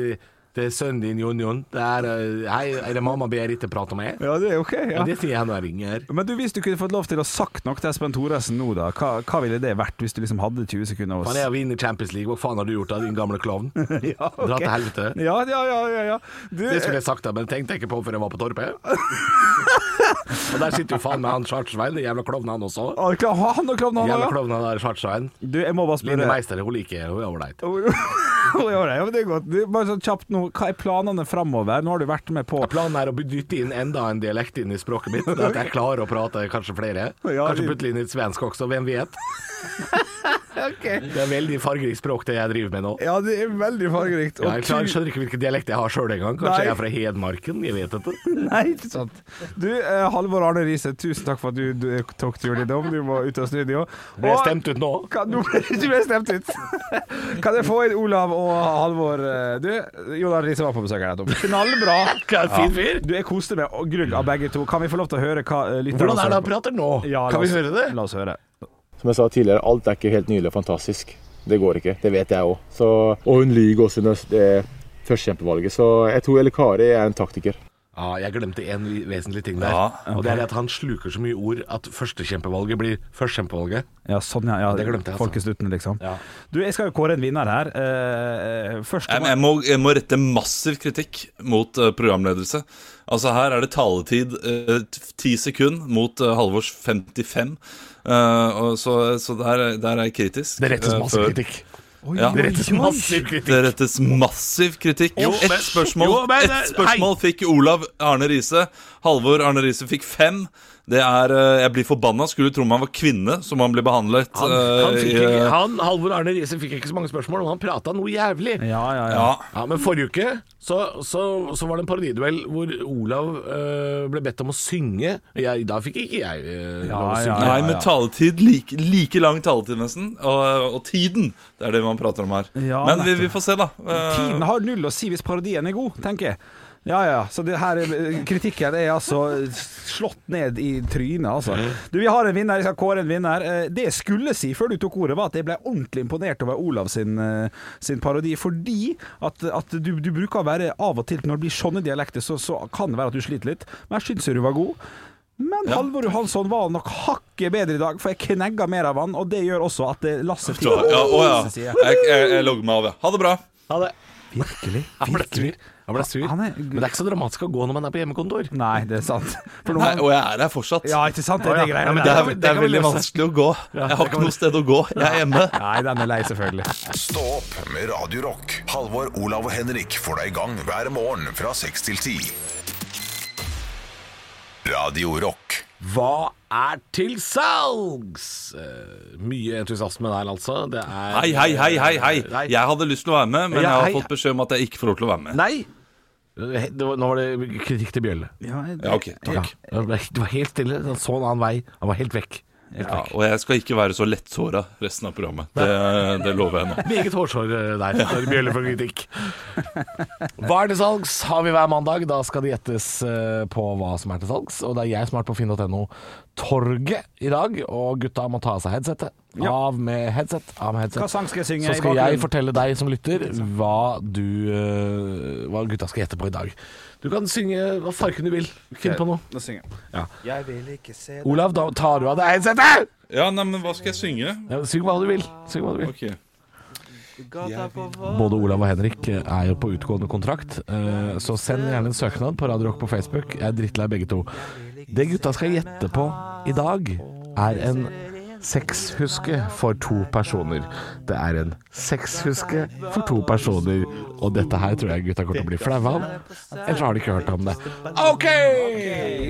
Speaker 6: til sønnen din, Jon Jon. Det er, eh, hei, er det mamma Berit jeg prater med?
Speaker 3: Ja, det er OK.
Speaker 6: Ja.
Speaker 3: Ja.
Speaker 6: Det sier jeg når jeg ringer.
Speaker 3: Men du, hvis du kunne fått lov til å sagt noe til Espen Thoresen nå, da, hva, hva ville det vært? Hvis du liksom hadde 20 sekunder hos
Speaker 6: Faen, jeg vinner Champions League. Hva faen har du gjort da, din gamle klovn?
Speaker 3: [LAUGHS] ja, ok.
Speaker 6: Dra til helvete.
Speaker 3: Ja, ja, ja. ja, ja. Du,
Speaker 6: Det skulle jeg sagt, da, men tenkte jeg ikke på før jeg var på
Speaker 3: [LAUGHS]
Speaker 6: torpet. Og der sitter jo faen meg han Chartsvein, den jævla klovnen han også.
Speaker 3: Å, kla- Han og klovnen, han
Speaker 6: Jævla
Speaker 3: òg, ja.
Speaker 6: klovnen der, Chartsvein.
Speaker 3: Du, jeg må bare
Speaker 6: Line
Speaker 3: spørre [LAUGHS]
Speaker 6: Meister, hun liker hun er ålreit.
Speaker 3: Å, ja, det er- ja, men det er godt. Du, bare sånn kjapt nå, hva er planene framover? Nå har du vært med på
Speaker 6: Planen er å dytte inn enda en dialekt inn i språket mitt, sånn at jeg klarer å prate kanskje flere.
Speaker 3: Ja,
Speaker 6: Kanskje
Speaker 3: vi-
Speaker 6: putte inn litt svensk også, hvem vet? Det er veldig fargerikt språk det jeg driver med nå.
Speaker 3: Ja, det er veldig fargerikt.
Speaker 6: Ja, jeg klarer, skjønner ikke hvilken dialekt jeg har sjøl engang. Kanskje
Speaker 3: Nei.
Speaker 6: jeg er fra Hedmarken? Jeg vet ikke.
Speaker 3: [LAUGHS] Nei, ikke sant. Du, eh, Halvor Arne Riise, tusen takk for at du, du tok turen innom. Du må ut av studio.
Speaker 6: Ble jeg
Speaker 3: Og-
Speaker 6: stemt ut nå?
Speaker 3: Kan, nå ble du ikke mer stemt ut. [LAUGHS] Kan jeg få inn Olav og Halvor? eh, Du, Jonar Riise var på besøk her nettopp. Knallbra.
Speaker 6: Hva, fin fyr?
Speaker 3: Du, jeg koste meg og grugg av begge to. Kan vi få lov til å høre hva eh, lytterne
Speaker 6: Hvordan er det
Speaker 3: også-
Speaker 6: han prater nå?
Speaker 3: Ja, la
Speaker 6: kan vi
Speaker 3: oss-
Speaker 6: høre det?
Speaker 3: La oss høre.
Speaker 10: Som jeg sa tidligere, alt er ikke helt nydelig og fantastisk. Det går ikke. Det vet jeg òg. Og hun lyver også under eh, førstekjempevalget, så jeg tror Elle Kari er en taktiker.
Speaker 6: Ja, jeg glemte en vi- vesentlig ting der.
Speaker 4: Ja,
Speaker 6: Og det er at han sluker så mye ord at førstekjempevalget blir førstekjempevalget.
Speaker 3: Ja, sånn, ja. ja
Speaker 6: Det glemte jeg, altså.
Speaker 3: Folkeslutten, liksom. Du, jeg skal jo kåre en vinner her. Eh, først
Speaker 4: Jeg, jeg, må, jeg må rette massiv kritikk mot eh, programledelse. Altså Her er det taletid eh, t- ti sekund mot eh, Halvors 55. eh, og så så der, er- der er jeg kritisk.
Speaker 11: Det rettes
Speaker 4: eh,
Speaker 11: masse
Speaker 4: før-
Speaker 11: kritikk.
Speaker 4: Ja.
Speaker 11: Det rettes massiv kritikk.
Speaker 4: Det rettes massiv kritikk.
Speaker 6: Jo, men-
Speaker 4: Ett spørsmål,
Speaker 6: jo, men-
Speaker 4: ett spørsmål fikk Olav Arne Riise. Halvor Arne Riise fikk fem. Det er eh, Jeg blir forbanna. Skulle tro man var kvinne, som han ble behandlet.
Speaker 6: Han, han,
Speaker 4: eh,
Speaker 6: fikk
Speaker 4: i, eh,
Speaker 6: ikke, han Halvor Arne Riise fikk ikke så mange spørsmål, og han prata noe jævlig.
Speaker 3: Ja, ja, ja.
Speaker 4: ja.
Speaker 6: Ja, Men forrige uke så, så, så var det en parodiduell hvor Olav eh, ble bedt om å synge. Jeg, da fikk ikke jeg eh, lov å
Speaker 3: Ja,
Speaker 6: synge.
Speaker 3: ja,
Speaker 4: Nei,
Speaker 3: ja,
Speaker 4: men
Speaker 3: ja.
Speaker 4: taletid like, like lang taletid nesten. Og, og tiden. Det er det man prater om her.
Speaker 3: Ja,
Speaker 4: men vi,
Speaker 3: nettopp.
Speaker 4: vi får se, da. Eh,
Speaker 3: Tiden har null å si hvis parodien er god, tenker jeg. Ja, ja. Så det her er- eh, kritikken er altså slått ned i trynet, altså. Du, vi har en vinner. Jeg skal kåre en vinner. Eh, Det jeg skulle si før du tok ordet, var at jeg ble ordentlig imponert over Olav sin, eh, sin parodi. Fordi at, at du, du bruker å være av og til Når det blir sånne dialekter, så, så kan det være at du sliter litt. Men jeg syns jo du var god. Men Halvor Johansson var nok hakket bedre i dag, for jeg knegga mer av han, og det gjør også at det Lasse
Speaker 4: da, ja, å ja.
Speaker 3: sier.
Speaker 4: Jeg, jeg, jeg logger meg av, ja. Ha det bra.
Speaker 6: Ha det.
Speaker 3: Virkelig.
Speaker 6: Han ble sur. Han ble sur.
Speaker 3: Han er-
Speaker 6: Men det er ikke så dramatisk å gå når man er på hjemmekontor.
Speaker 3: Nei, det er sant. For nå-
Speaker 4: Nei, og jeg er her fortsatt.
Speaker 3: Ja, ikke sant? Det er det greia med
Speaker 4: Det
Speaker 3: det.
Speaker 4: er, det er veldig vanskelig å gå. Jeg har ikke noe sted å gå. Jeg er hjemme.
Speaker 3: Nei, den er lei, selvfølgelig.
Speaker 1: Stå opp med Radio Rock. Halvor, Olav og Henrik får deg i gang hver morgen fra 6 til 10. Radio Rock.
Speaker 6: Hva er til salgs? Eh, mye entusiasme der, altså. Det er
Speaker 4: Hei, hei, hei, hei. hei
Speaker 6: Nei.
Speaker 4: Jeg hadde lyst til å være med, men jeg
Speaker 6: Ja, hei.
Speaker 4: har fått beskjed om at jeg ikke får lov til å være med.
Speaker 6: Nei! Eh, det var- Nå var det kritikk til Bjølle.
Speaker 4: Ja, ok, takk
Speaker 6: Ja, det ble- det var helt stille. Han så en annen vei. Han var helt vekk. Helt
Speaker 4: ja,
Speaker 6: vekk.
Speaker 4: Og jeg skal ikke være så lettsåra resten av programmet. Det, det lover jeg nå.
Speaker 6: Meget hårsår eh, der, når Bjølle får kritikk. Hva er til salgs har vi hver mandag. Da skal det gjettes eh, på hva som er til salgs. Og det er jeg som har vært på finn.no torget i dag, og gutta må ta av seg headsetet.
Speaker 3: Ja.
Speaker 6: Av med headset, av med headset.
Speaker 3: Hva sang skal jeg synge
Speaker 6: Så
Speaker 3: i
Speaker 6: skal jeg
Speaker 3: bakgrunnen?
Speaker 6: fortelle deg som lytter hva du eh, Hva gutta skal gjette på i dag. Du kan synge hva farken du vil. Finn på noe.
Speaker 3: Da synger jeg.
Speaker 6: Olav, da tar du av deg headsetet!
Speaker 4: Ja, nei, men hva skal jeg synge?
Speaker 6: Ja, Syng hva du vil. Syng hva du vil.
Speaker 4: Ok
Speaker 6: Både Olav og Henrik er jo på utgående kontrakt, eh, så send gjerne en søknad på Radio Rock på Facebook. Jeg er drittlei begge to. Det gutta skal gjette på i dag, er en sexhuske for to personer. Det er en sexhuske for to personer, og dette her tror jeg gutta kommer til å bli flaue av. Ellers har de ikke hørt om det. OK!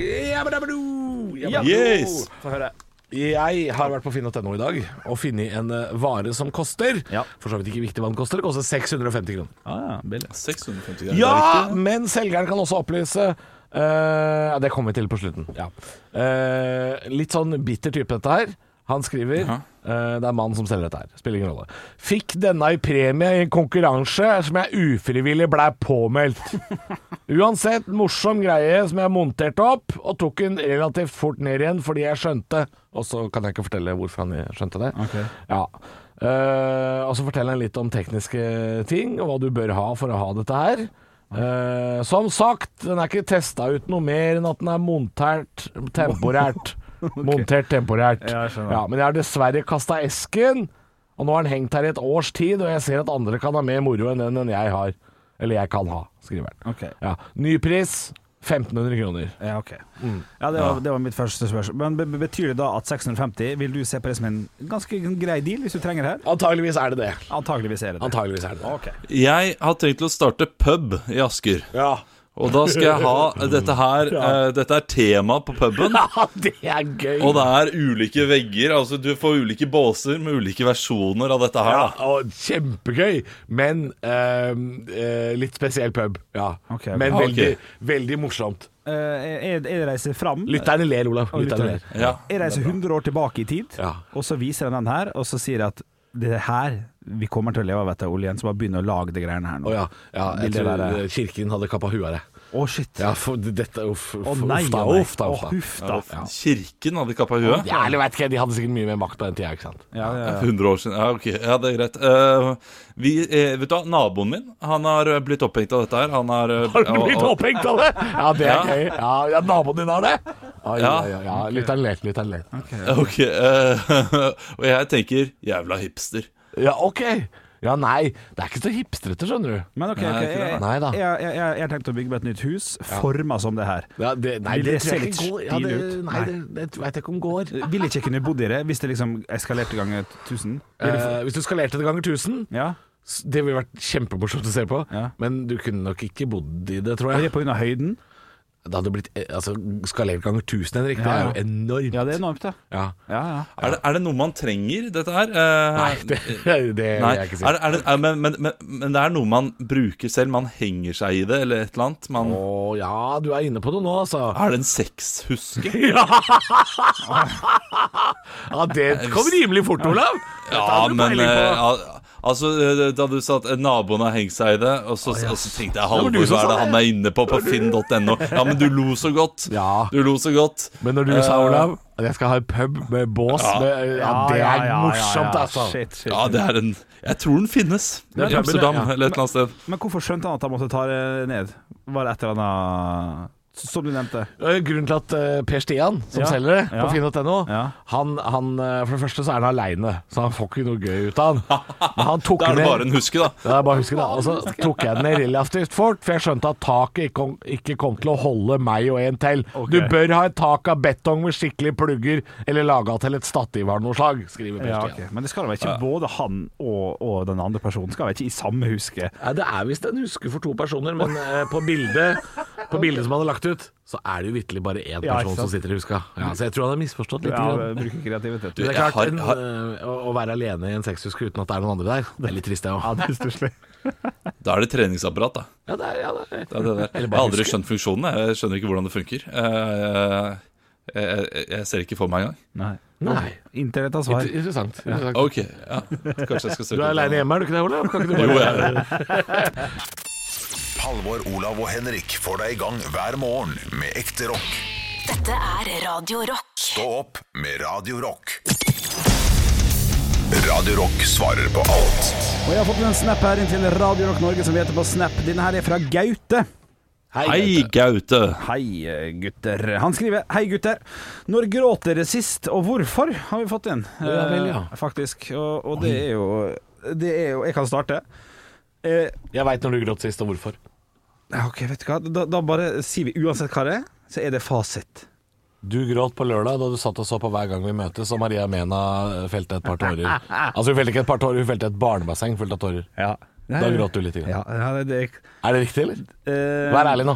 Speaker 6: Jabba-dabba-doo! Jabba-dabba-doo!
Speaker 4: Yes!
Speaker 6: Jeg har vært på finn.no i dag og funnet en eh, vare som koster
Speaker 3: Ja.
Speaker 6: For så vidt ikke viktig hva den koster. Det koster 650 kroner.
Speaker 3: Ah, ja, billig.
Speaker 4: 650 greier.
Speaker 6: Ja, men selgeren kan også opplyse eh, ja, Det kommer vi til på slutten. Ja. Eh, litt sånn bitter type, dette her. Han skriver eh, Det er mannen som selger dette her. Spiller ingen rolle. Fikk denne i premie i en konkurranse som jeg ufrivillig blei påmeldt. Uansett, morsom greie som jeg monterte opp, og tok den relativt fort ned igjen fordi jeg skjønte Og så kan jeg ikke fortelle hvorfor han skjønte det. Ja. Eh, og så forteller han litt om tekniske ting, og hva du bør ha for å ha dette her. Eh, som sagt, den er ikke testa ut noe mer enn at den er montert temporært.
Speaker 3: [LAUGHS]
Speaker 6: Montert temporært.
Speaker 3: Ja, jeg skjønner.
Speaker 6: Ja, men jeg har dessverre kasta esken, og nå har den hengt her i et års tid, og jeg ser at andre kan ha mer moro enn den enn jeg har. Eller jeg kan ha, skriver han.
Speaker 3: Ok.
Speaker 6: Ja. Ny pris 1500 kroner.
Speaker 3: Ja, ok.
Speaker 4: Mm.
Speaker 3: ja, det, var, det var mitt første spørsmål. Men be- betyr det da at 650 vil du se på det som en ganske grei deal, hvis du trenger her?
Speaker 6: Antageligvis er det det.
Speaker 3: Antageligvis er det det.
Speaker 6: Antageligvis er det det.
Speaker 3: Ok.
Speaker 4: Jeg har tenkt å starte pub i Asker.
Speaker 6: Ja.
Speaker 4: Og da skal jeg ha dette her eh, Dette er tema på puben.
Speaker 6: det er gøy.
Speaker 4: Og det er ulike vegger. Altså Du får ulike båser med ulike versjoner av dette her.
Speaker 6: ja,
Speaker 4: Da.
Speaker 6: og kjempegøy, men ehm, eh, litt spesiell pub. Ja.
Speaker 3: Ok, ok.
Speaker 6: Men
Speaker 4: Ah, ok.
Speaker 6: veldig, veldig morsomt.
Speaker 3: Eh, jeg, jeg reiser fram.
Speaker 6: Lytterne ler, Olav.
Speaker 3: Og lytterne
Speaker 6: Lytterne
Speaker 3: ler.
Speaker 6: ler.
Speaker 4: Ja.
Speaker 3: Jeg reiser 100 år tilbake i tid,
Speaker 6: Ja.
Speaker 3: og så viser han den her, og så sier jeg at det er her vi kommer til å leve av dette, Oljen, så bare begynn å lage de greiene her nå.
Speaker 6: Å ja. ja, jeg
Speaker 3: Vil det
Speaker 6: tror
Speaker 3: være-
Speaker 6: kirken hadde kappa huet av deg.
Speaker 3: Å, shit.
Speaker 6: Ja, for dette Uff, uff,
Speaker 3: Å
Speaker 6: uff
Speaker 3: nei,
Speaker 6: da,
Speaker 3: å nei.
Speaker 6: uff da. Uff,
Speaker 3: Å,
Speaker 6: da.
Speaker 3: huff da. Ja.
Speaker 4: Kirken hadde kappa huet.
Speaker 6: Ja, eller vet ikke, De hadde sikkert mye mer makt på den tida, ikke sant?
Speaker 3: Ja, ja,
Speaker 4: [LAUGHS]
Speaker 3: ja.
Speaker 4: 100 år siden. Ja, ok. Ja, det er greit. Eh, vi, eh, vet du hva, Naboen min Han har eh, blitt opphengt av dette her. Han har, eh,
Speaker 6: Har du blitt
Speaker 4: og- og-
Speaker 6: opphengt av det? Ja, det
Speaker 4: Ja.
Speaker 6: er gøy. Ja, ja Naboen din har det? Ai, ja.
Speaker 4: Ja.
Speaker 6: Ja, ja. Lytteren ler, lytteren ler.
Speaker 4: Ok. eh, [LAUGHS] og jeg tenker jævla hipster.
Speaker 6: Ja, OK. Ja, nei. Det er ikke så hipstrete, skjønner du.
Speaker 3: Men ok, ok,
Speaker 4: Nei, ikke
Speaker 3: jeg,
Speaker 4: det,
Speaker 3: jeg,
Speaker 6: nei. Nei da.
Speaker 3: jeg, jeg, jeg har tenkt å bygge meg et nytt hus, forma som det her.
Speaker 6: Ja, det, nei,
Speaker 3: Vil
Speaker 6: det
Speaker 3: det
Speaker 6: tror
Speaker 3: se
Speaker 6: jeg ikke
Speaker 3: litt
Speaker 6: går. Ja, det,
Speaker 3: stilig ut?
Speaker 6: nei, det, det veit jeg ikke om går.
Speaker 3: Vil ikke kunne bodd i det hvis det liksom eskalerte ganger 1000. Vil det-
Speaker 6: Eh, hvis du skalerte det ganger 1000,
Speaker 3: Ja.
Speaker 6: s- det ville vært kjempemorsomt å se på.
Speaker 3: Ja.
Speaker 6: Men du kunne nok ikke bodd i det, tror
Speaker 3: Er
Speaker 6: jeg.
Speaker 3: det pga. høyden?
Speaker 6: Det hadde blitt eh, altså, Skalert ganger 1000, Henrik, det
Speaker 3: Ja,
Speaker 6: er
Speaker 3: ja.
Speaker 6: jo enormt.
Speaker 3: Ja, det er enormt, ja.
Speaker 6: Ja.
Speaker 3: ja, ja.
Speaker 4: Er det, er det noe man trenger, dette her?
Speaker 6: [LAUGHS]
Speaker 4: Eh,
Speaker 6: Nei, det, det vil
Speaker 4: Nei,
Speaker 6: jeg ikke si.
Speaker 4: er, det- er det, er, men, men, men, men det er noe man bruker selv. Man henger seg i det, eller et eller annet. Man,
Speaker 6: Å ja, du er inne på det nå, altså.
Speaker 4: Er det en sexhuske?
Speaker 6: Ja, Det kom rimelig fort, Olav.
Speaker 4: Ja,
Speaker 6: hadde du
Speaker 4: men
Speaker 6: peiling på.
Speaker 4: eh, al- Altså, eh, Da du sa at eh, naboen har hengt seg i det, og så, og så tenkte jeg Halvor,
Speaker 6: du som sa
Speaker 4: hva er
Speaker 6: sånn,
Speaker 4: det han er inne på på finn.no? Ja, men du lo så godt.
Speaker 6: Ja.
Speaker 4: Du lo så godt.
Speaker 6: Men når du sa,
Speaker 4: Eh,
Speaker 6: Olav, at jeg skal ha en pub med bås med, ja, Det
Speaker 3: Ja, ja,
Speaker 6: er
Speaker 3: ja, ja,
Speaker 6: morsomt,
Speaker 3: ja.
Speaker 6: altså.
Speaker 3: Shit, shit.
Speaker 4: Ja, det er en Jeg tror den finnes.
Speaker 6: er
Speaker 4: I
Speaker 6: puben,
Speaker 4: Amsterdam
Speaker 6: ja.
Speaker 4: eller et eller annet sted.
Speaker 3: Men hvorfor skjønte han at han måtte ta det ned? Var det et eller annet Som du nevnte.
Speaker 6: Eh, Grunnen til at eh, Per Stian, som
Speaker 3: Ja.
Speaker 6: selger det på
Speaker 3: Ja.
Speaker 6: finn.no,
Speaker 3: Ja.
Speaker 6: han, han, eh, for det første så er han aleine, så han får ikke noe gøy ut av han. Men han tok
Speaker 4: [LAUGHS] Da er det
Speaker 6: ned-
Speaker 4: bare en huske, da.
Speaker 6: Ja, det er bare å huske det. Og så tok jeg den ned relativt fort, for jeg skjønte at taket ikke kom, ikke kom til å holde meg og en til. Du bør ha et tak av betong med skikkelige plugger, eller laga til et stativ av noe slag, skriver Per
Speaker 3: Ja,
Speaker 6: Stian.
Speaker 3: ok. Men det skal da være ikke både han og, og den andre personen skal være ikke i samme huske.
Speaker 6: Nei, det er visst en huske for to personer, men eh, på bildet, på bildet som han har lagt ut, så er det jo vitterlig bare én
Speaker 3: Ja,
Speaker 6: person
Speaker 3: ikke
Speaker 6: som
Speaker 3: sant?
Speaker 6: sitter i huska. Ja, så jeg tror han har misforstått litt.
Speaker 3: Ja,
Speaker 6: grann.
Speaker 3: Bruke kreativitet.
Speaker 6: det er
Speaker 4: jeg
Speaker 6: klart,
Speaker 4: har-
Speaker 6: en,
Speaker 4: har-
Speaker 6: eh, å, å være alene i en sexhuske uten at det er noen andre der, det er litt trist, det òg.
Speaker 3: det er stusslig.
Speaker 4: Da er det treningsapparat, da.
Speaker 6: [LAUGHS] Ja, det er- ja, det er-
Speaker 4: Det er det der.
Speaker 6: Eller
Speaker 4: Jeg
Speaker 6: bare
Speaker 4: har aldri
Speaker 6: huske.
Speaker 4: skjønt funksjonen. jeg. Jeg skjønner ikke hvordan det funker. Eh, Jeg, jeg, jeg ser ikke for meg engang.
Speaker 3: Nei.
Speaker 6: Nei.
Speaker 3: Internett har
Speaker 6: Inter-
Speaker 3: svar.
Speaker 6: Interessant. interessant.
Speaker 4: Ok, ja. Kanskje jeg skal søke
Speaker 6: Du er
Speaker 4: opp
Speaker 6: aleine
Speaker 4: det.
Speaker 6: hjemme, er du ikke det, Olav? Kan ikke du
Speaker 4: Jo,
Speaker 6: bare...
Speaker 4: jeg er det.
Speaker 1: Halvor, Olav og Henrik får deg i gang hver morgen med ekte rock.
Speaker 2: Dette Dette er Radio Rock.
Speaker 1: Stå opp med Radio Rock. Radio Rock svarer på alt.
Speaker 3: Og jeg har fått en snap her inn til Radio Rock Norge som heter på Snap. Denne her er fra Gaute.
Speaker 4: Hei, Gaute.
Speaker 3: Hei, gutter. Han skriver Hei, gutter. Når gråt dere sist, og hvorfor? har vi fått inn.
Speaker 6: Ja vel, ja.
Speaker 3: Eh, Faktisk. Og, og det er jo Det er jo Jeg kan starte. Eh,
Speaker 6: Jeg veit når du gråt sist, og hvorfor.
Speaker 3: ja, OK, vet du hva. Da, da bare sier vi uansett hva det er, så er det fasit.
Speaker 6: Du gråt på lørdag da du satt og så på Hver gang vi møtes, og Maria Mena eh, felte et par [LAUGHS] tårer. Altså, hun felte ikke et par tårer, hun felte et barnebasseng fullt av tårer.
Speaker 3: Ja.
Speaker 6: Da gråt du litt. Grann.
Speaker 3: Ja, ja, det, det,
Speaker 6: Er det riktig, eller?
Speaker 3: eh,
Speaker 6: Vær ærlig nå.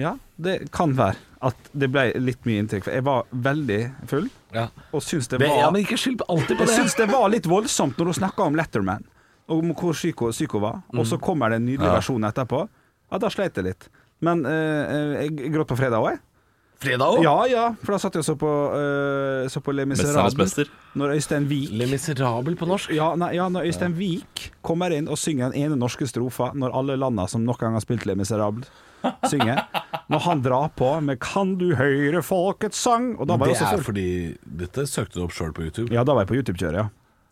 Speaker 3: Ja, det kan være at det ble litt mye inntrykk. For jeg var veldig full,
Speaker 6: Ja.
Speaker 3: og syns det
Speaker 6: Men, ja,
Speaker 3: var
Speaker 6: men ikke skyld alltid på
Speaker 3: Jeg
Speaker 6: det.
Speaker 3: syns det var litt voldsomt når hun snakka om Letterman, og om hvor syk hun- syk hun var, og
Speaker 6: Mm.
Speaker 3: så kommer det en nydelig versjon etterpå. Ja, da sleit jeg litt. Men eh, jeg gråt på fredag òg, jeg.
Speaker 6: Fredag
Speaker 3: Ja ja, for da satt jeg og så på, eh, så på Le
Speaker 4: Mesternes
Speaker 3: Miserable
Speaker 4: mester.
Speaker 3: når Øystein Wiik
Speaker 6: Le Miserable på norsk.
Speaker 3: ja, nei, ja, når Øystein Wiik kommer inn og synger den ene norske strofa når alle landa som noen gang har spilt Le Miserable, synger. Når han drar på med 'Kan du høre folkets sang'? Og da var
Speaker 6: Det
Speaker 3: jeg
Speaker 6: er
Speaker 3: også full.
Speaker 6: fordi dette søkte du opp sjøl på YouTube.
Speaker 3: Ja, da var jeg på YouTube-kjøret, ja.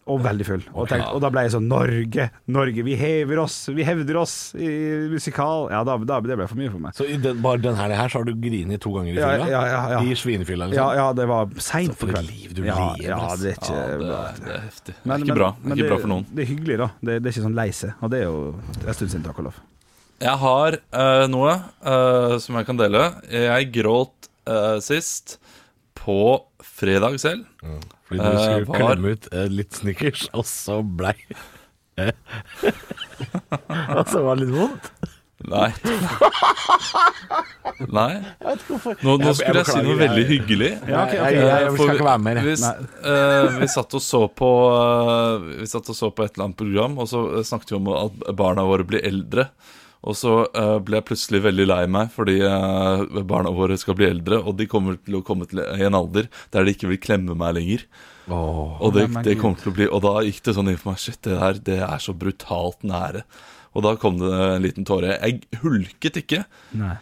Speaker 3: Og veldig full. Og, tenkte, og da ble jeg sånn Norge, Norge, vi hever oss, vi hevder oss i musikal Ja, da, da, det ble for mye for meg.
Speaker 6: Så i den, bare den helga her så har du grinet to ganger i
Speaker 3: Ja,
Speaker 6: fylla?
Speaker 3: ja, ja, ja.
Speaker 6: I svinefylla, liksom?
Speaker 3: Ja, ja, det var seint
Speaker 6: for et liv du
Speaker 3: ja,
Speaker 6: lever,
Speaker 3: ja,
Speaker 6: ass.
Speaker 3: det er ikke
Speaker 4: Ja, det,
Speaker 3: bra.
Speaker 4: er- det er heftig. Det
Speaker 3: Men-
Speaker 4: er
Speaker 3: men-
Speaker 4: ikke bra. Det
Speaker 3: men
Speaker 4: er ikke bra for noen.
Speaker 3: Det er hyggelig, da. Det, det er ikke sånn lei seg. Og det er jo en stund siden, takk og lov.
Speaker 4: Jeg har eh, noe eh, som jeg kan dele. Jeg gråt eh, sist på fredag selv.
Speaker 6: Fordi du skulle
Speaker 4: Eh, var-
Speaker 6: klemme ut eh, litt snickers, og så blei [LAUGHS] Og så var det litt vondt? [LAUGHS]
Speaker 4: Nei. Nei. Nå, nå
Speaker 6: Jeg- jeg
Speaker 4: skulle jeg si noe
Speaker 6: beklager,
Speaker 4: veldig
Speaker 6: jeg-
Speaker 4: hyggelig.
Speaker 3: Ja, ok, ok.
Speaker 6: Jeg, jeg, jeg
Speaker 4: For
Speaker 6: skal ikke være med mer.
Speaker 4: Vi,
Speaker 6: jeg.
Speaker 4: eh, vi satt og så på eh, Vi satt og så på et eller annet program, og så eh, snakket vi om at barna våre blir eldre. Og så eh, ble jeg plutselig veldig lei meg fordi eh, barna våre skal bli eldre, og de kommer til å komme til i en alder der de ikke vil klemme meg lenger. og
Speaker 3: Nei,
Speaker 4: det,
Speaker 3: men
Speaker 4: det
Speaker 3: Gud.
Speaker 4: kommer til å bli Og da gikk det sånn inn for meg Shit, det der det er så brutalt nære. Og da kom det en liten tåre. Jeg hulket ikke,
Speaker 3: Nei.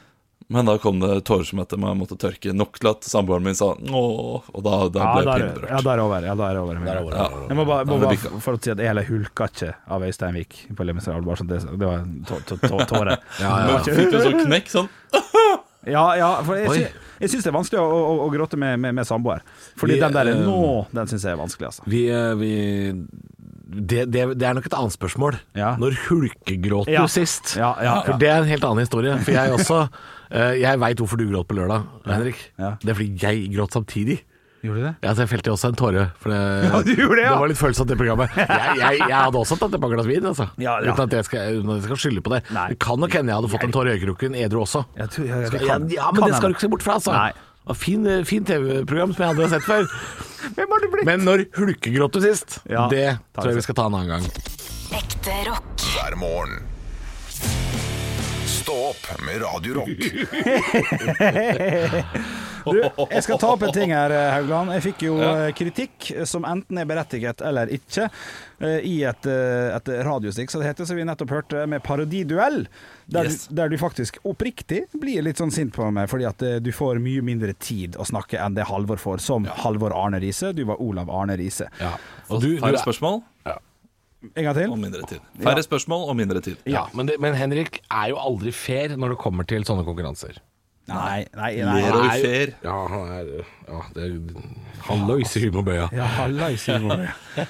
Speaker 4: men da kom det tårer som etter meg måtte tørke. Nok til at samboeren min sa åh, og da, da ble
Speaker 3: da
Speaker 4: jeg
Speaker 3: er det-
Speaker 4: pinlig
Speaker 3: Ja, da er det over. Ja, da er det over.
Speaker 4: Ja.
Speaker 3: Jeg må bare, må
Speaker 4: det
Speaker 3: bare
Speaker 4: blir ikke-
Speaker 3: for å si at jeg heller hulka ikke av Øystein Wiik på Le Miserable. Bare sånn det, det var en tå- tå- tå- tåre.
Speaker 4: Men Fikk du sånn knekk sånn?
Speaker 3: Ja, ja, for jeg, sy jeg syns det er vanskelig å, å, å gråte med, med, med samboer. Fordi
Speaker 6: Vi,
Speaker 3: den der
Speaker 6: eh,
Speaker 3: nå, den syns jeg er vanskelig, altså.
Speaker 6: Vi, eh, vi det, det, det er nok et annet spørsmål.
Speaker 3: Ja.
Speaker 6: Når hulkegråt
Speaker 3: Ja.
Speaker 6: du sist?
Speaker 3: Ja, ja, ja.
Speaker 6: For det er en helt annen historie. For
Speaker 3: [LAUGHS]
Speaker 6: jeg også eh, Jeg veit hvorfor du gråt på lørdag, Henrik.
Speaker 3: Ja.
Speaker 6: Det er fordi jeg gråt samtidig.
Speaker 3: Gjorde du det?
Speaker 6: Ja, så jeg felte også en tåre. For det,
Speaker 3: du gjorde det, [LAUGHS] ja.
Speaker 6: det var litt følsomt, det programmet. Jeg, jeg, jeg hadde også tatt et par glass vin, altså.
Speaker 3: Ja, ja.
Speaker 6: Uten at jeg skal, uten at jeg skal skylde på det.
Speaker 3: Nei.
Speaker 6: Det kan nok hende jeg hadde fått en tåre i øyekroken edru også.
Speaker 3: Jeg tror, jeg,
Speaker 6: Skal, ja, ja, men det skal du ikke se bort fra, altså.
Speaker 3: Nei.
Speaker 6: Det var Fin, fin TV-program som jeg hadde sett
Speaker 3: [LAUGHS]
Speaker 6: før. Men når hulkegråt du sist,
Speaker 3: Ja,
Speaker 6: det
Speaker 3: tar
Speaker 6: tror
Speaker 3: vi
Speaker 6: jeg
Speaker 3: sist.
Speaker 6: vi skal ta en annen gang.
Speaker 2: Ekte rock.
Speaker 1: hver morgen. Stå opp med Radio Rock.
Speaker 3: Du, jeg skal ta opp en ting her, Haugland. Jeg fikk jo eh, kritikk som enten er berettiget eller ikke, eh, i et, eh, et radiostikk som det heter, som vi nettopp hørte, med parodiduell. Der,
Speaker 4: Yes.
Speaker 3: du, der du faktisk oppriktig blir litt sånn sint på meg, fordi at eh, du får mye mindre tid å snakke enn det Halvor får, som Halvor Arne Riise. Du var Olav Arne Riise.
Speaker 6: Og du, du
Speaker 4: Færre
Speaker 6: er,
Speaker 4: spørsmål
Speaker 3: En gang til.
Speaker 4: og mindre tid. Færre spørsmål og mindre tid.
Speaker 6: ja, men, det, men Henrik er jo aldri fair når det kommer til sånne konkurranser.
Speaker 3: Nei, nei, nei.
Speaker 4: Ler og ufer.
Speaker 6: Ja, han er ja, det, Han løyser humorbøya.
Speaker 3: Ja, hallais, Halvor.
Speaker 4: [LAUGHS]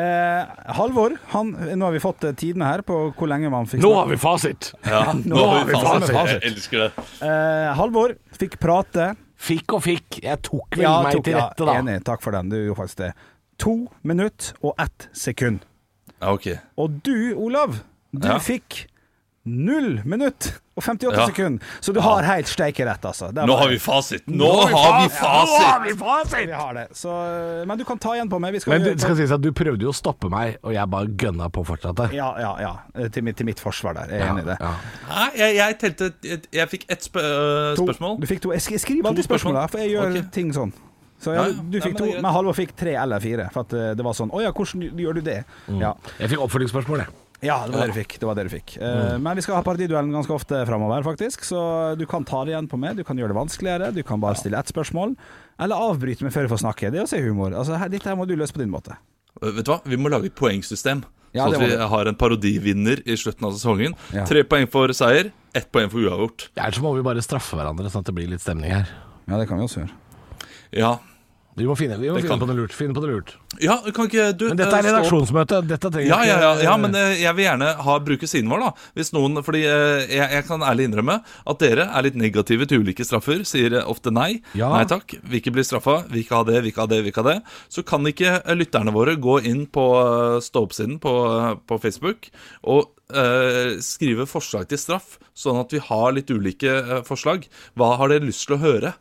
Speaker 3: Eh, Halvor, han, nå har vi fått eh, tidene her på hvor lenge man fikk
Speaker 6: Nå har vi fasit!
Speaker 4: Ja,
Speaker 3: [LAUGHS]
Speaker 4: nå har vi
Speaker 3: faen meg
Speaker 4: fasit. Jeg
Speaker 3: fasit.
Speaker 4: elsker det.
Speaker 3: Eh, Halvor fikk prate.
Speaker 6: Fikk og fikk. Jeg tok vel meg
Speaker 3: tok-
Speaker 6: til
Speaker 3: ja,
Speaker 6: rette, da.
Speaker 3: Enig, takk for den. Du gjorde faktisk det. To minutt og ett sekund.
Speaker 4: Ja, ok.
Speaker 3: Og du, Olav, du
Speaker 4: Ja.
Speaker 3: fikk null minutt og 58
Speaker 4: Ja.
Speaker 3: sekund. Så du har helt steike rett, altså. Der
Speaker 4: Nå
Speaker 3: var
Speaker 4: har vi
Speaker 3: det.
Speaker 4: fasit. Nå har vi fasit!
Speaker 3: Vi har det. Så, eh, men du kan ta igjen på meg. Vi skal
Speaker 6: Men det
Speaker 3: gjøre-
Speaker 6: skal sies at du prøvde jo å stoppe meg, og jeg bare gønna på fortsatt.
Speaker 3: ja, ja, ja. Eh, Til mitt, til mitt forsvar der. Jeg er enig i det.
Speaker 6: Ja.
Speaker 4: Nei, jeg, jeg telte Jeg, jeg fikk ett spø øh,
Speaker 3: To.
Speaker 4: spørsmål.
Speaker 3: Du fikk to. Jeg sk- jeg skriver alltid
Speaker 4: spørsmål.
Speaker 3: spørsmål, da, for jeg gjør
Speaker 4: Ok.
Speaker 3: ting sånn. Så
Speaker 4: Ja,
Speaker 3: ja,
Speaker 4: ja.
Speaker 3: du
Speaker 4: Nei, men
Speaker 3: fikk
Speaker 4: det
Speaker 3: to,
Speaker 4: er greit.
Speaker 3: men Halvor fikk tre eller fire. For at eh, det var sånn Å ja, hvordan gjør du det? Ja.
Speaker 6: Jeg fikk oppfølgingsspørsmål, jeg.
Speaker 3: Ja, det var det du fikk. Det var det du fikk. Eh, Men vi skal ha partiduellen ganske ofte framover, faktisk. Så du kan ta det igjen på meg. Du kan gjøre det vanskeligere. Du kan bare stille ett spørsmål. Eller avbryte meg før jeg får snakke. Det er også humor. Altså, her, dette her må du løse på din måte.
Speaker 4: Eh, Vet du hva? Vi må lage et poengsystem.
Speaker 3: Ja, det
Speaker 4: sånn
Speaker 3: må
Speaker 4: at vi
Speaker 3: vi.
Speaker 4: har en parodivinner i slutten av sesongen.
Speaker 3: Ja.
Speaker 4: Tre poeng for seier, ett poeng for uavgjort.
Speaker 6: Ellers må vi bare straffe hverandre, sånn at det blir litt stemning her.
Speaker 3: Ja, det kan vi også gjøre.
Speaker 4: Ja.
Speaker 6: Vi må finne, vi må
Speaker 4: Det
Speaker 6: finne
Speaker 4: kan-
Speaker 6: på noe lurt. Finne på noe lurt.
Speaker 4: ja, kan ikke du
Speaker 6: Men dette
Speaker 4: eh,
Speaker 6: er
Speaker 4: stå opp?
Speaker 6: redaksjonsmøte. Dette trenger
Speaker 4: Ja, ja,
Speaker 6: ikke-
Speaker 4: ja, ja, men eh, jeg vil gjerne ha bruke siden vår, da. Hvis noen, fordi eh, jeg, jeg kan ærlig innrømme at dere er litt negative til ulike straffer. Sier eh, ofte nei.
Speaker 6: Ja.
Speaker 4: Nei takk, vil ikke bli straffa. Vil ikke ha det, vil ikke ha det, vil ikke ha det. Så kan ikke eh, lytterne våre gå inn på eh, stå-opp-siden på, eh, på Facebook og eh, skrive forslag til straff, sånn at vi har litt ulike eh, forslag. Hva har dere lyst til å høre?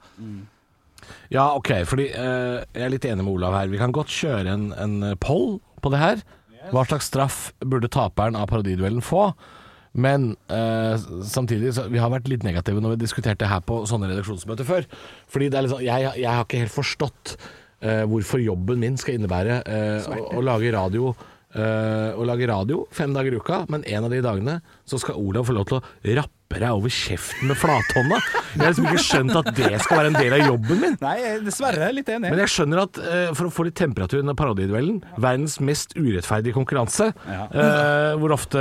Speaker 6: Ja, ok, fordi eh, jeg er litt enig med Olav her. Vi kan godt kjøre en, en poll på det her. Hva slags straff burde taperen av parodiduellen få? Men eh, samtidig, så, vi har vært litt negative når vi diskuterte her på sånne redaksjonsmøter før. Fordi det er liksom, jeg, jeg har ikke helt forstått eh, hvorfor jobben min skal innebære eh, å, å lage radio. eh, å lage radio fem dager i uka, men en av de dagene så skal Olav få lov til å rappe deg over kjeften med flathånda. Jeg har liksom ikke skjønt at det skal være en del av jobben min.
Speaker 3: Nei, jeg er dessverre litt enig.
Speaker 6: Men jeg skjønner at eh, for å få litt temperatur i denne parodiduellen, verdens mest urettferdige konkurranse, eh, hvor ofte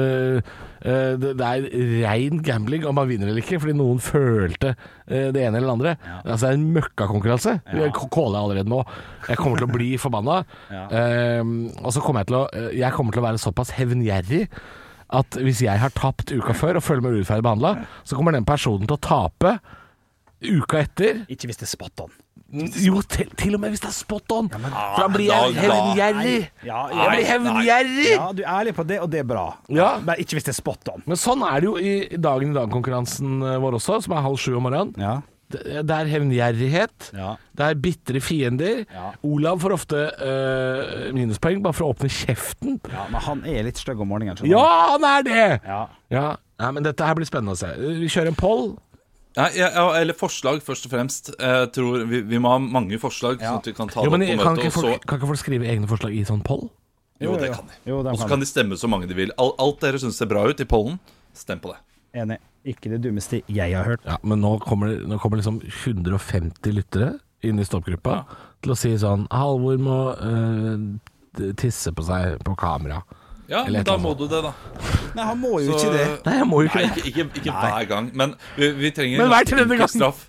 Speaker 6: eh, eh, det, det er rein gambling om man vinner eller ikke, fordi noen følte eh, det ene eller det andre. Altså det er en møkkakonkurranse. Jeg k- caller jeg allerede nå. Jeg kommer til å bli forbanna. Eh, og så kommer jeg til å eh, Jeg kommer til å være såpass hevngjerrig at hvis jeg har tapt uka før og føler meg urettferdig behandla, så kommer den personen til å tape uka etter.
Speaker 3: Ikke hvis det er spot on.
Speaker 6: Jo, til, til og med hvis det er spot on. For da blir
Speaker 4: da-
Speaker 6: jeg
Speaker 4: da-
Speaker 6: hevngjerrig.
Speaker 3: Ja,
Speaker 6: Jeg blir hevngjerrig!
Speaker 3: ja, du er ærlig på det, og det er bra.
Speaker 6: Ja.
Speaker 3: Men ikke hvis det er spot on.
Speaker 6: Men sånn er det jo i Dagen i dag-konkurransen eh, vår også, som er halv sju om morgenen.
Speaker 3: Ja.
Speaker 6: Det det er hevngjerrighet.
Speaker 3: Ja.
Speaker 6: Det er bitre fiender.
Speaker 3: Ja.
Speaker 6: Olav får ofte øh, minuspoeng bare for å åpne kjeften.
Speaker 3: ja, men han er litt stygg om morgenen, skjønner
Speaker 6: Ja, han er det!
Speaker 3: du. Ja.
Speaker 6: Ja. Nei, men dette her blir spennende å se. Vi kjører en poll.
Speaker 4: Nei, ja, ja, eller forslag, først og fremst. Jeg tror vi, vi må ha mange forslag, sånn at vi kan ta
Speaker 6: Jo,
Speaker 4: det
Speaker 6: men
Speaker 4: opp på
Speaker 6: kan
Speaker 4: møtet.
Speaker 6: ikke,
Speaker 4: og så
Speaker 6: folk, kan ikke folk skrive egne forslag i sånn poll?
Speaker 4: Jo,
Speaker 3: Jo,
Speaker 4: det
Speaker 3: jo.
Speaker 4: kan de.
Speaker 3: Jo, de
Speaker 4: Og så
Speaker 3: kan
Speaker 4: kan de stemme så mange de vil. Al- Alt dere syns ser bra ut i pollen, stem på det.
Speaker 3: Enig. Ikke det dummeste jeg har hørt.
Speaker 6: Ja, men nå kommer, det- nå kommer liksom 150 lyttere inn i stoppgruppa til å si sånn Halvor må øh, tisse på seg på kamera.
Speaker 4: Ja,
Speaker 6: Eller
Speaker 4: men
Speaker 6: et
Speaker 4: da
Speaker 6: eller
Speaker 4: må du det, da.
Speaker 3: Nei, han må jo
Speaker 4: Så-
Speaker 3: ikke det.
Speaker 6: Nei, jeg må jo
Speaker 4: Nei,
Speaker 6: ikke det.
Speaker 4: ikke, ikke, ikke hver gang, men vi, vi trenger
Speaker 6: Men
Speaker 4: en
Speaker 6: hver
Speaker 4: ganske
Speaker 6: tredje
Speaker 4: enkel
Speaker 6: gang.
Speaker 4: straff.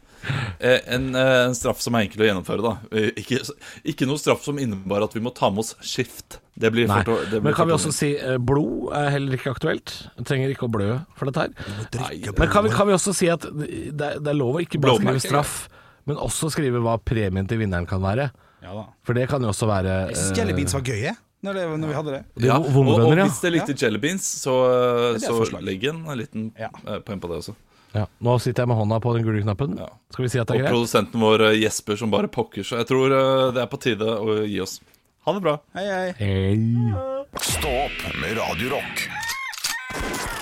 Speaker 4: Eh, En, eh, en straff som er enkel å gjennomføre, da. Eh, Ikke, ikke noe straff som innebar at vi må ta med oss skift. Det blir
Speaker 6: Nei.
Speaker 4: for tå- det blir
Speaker 6: Men kan
Speaker 4: for
Speaker 6: vi
Speaker 4: tungvint.
Speaker 6: også si eh, blod er heller ikke aktuelt? Jeg trenger ikke å blø for dette her.
Speaker 4: Nei, det-
Speaker 6: Men kan vi, kan vi også si at det, det er lov å ikke bare
Speaker 4: Blåmerke,
Speaker 6: skrive straff, men også skrive hva premien til vinneren kan være?
Speaker 3: Ja da.
Speaker 6: For det kan jo også være
Speaker 3: Jeg syns
Speaker 6: eh,
Speaker 3: jelly beans var gøye når, det, når vi hadde det.
Speaker 6: det er jo
Speaker 4: og, og
Speaker 6: vondbønder, ja.
Speaker 4: hvis dere likte jelly beans, så,
Speaker 3: det er
Speaker 4: så
Speaker 3: forslag.
Speaker 4: legg en liten
Speaker 3: Ja.
Speaker 4: eh, poeng på det også.
Speaker 6: ja. Nå sitter jeg med hånda på den gule knappen.
Speaker 4: Ja.
Speaker 6: Skal vi si at det
Speaker 4: Og
Speaker 6: er greit?
Speaker 4: produsenten vår eh, Jesper som bare pokker, så jeg tror eh, det er på tide å gi oss. Ha det bra.
Speaker 3: Hei, hei.
Speaker 6: Hei.
Speaker 1: Stå opp med Radio Rock.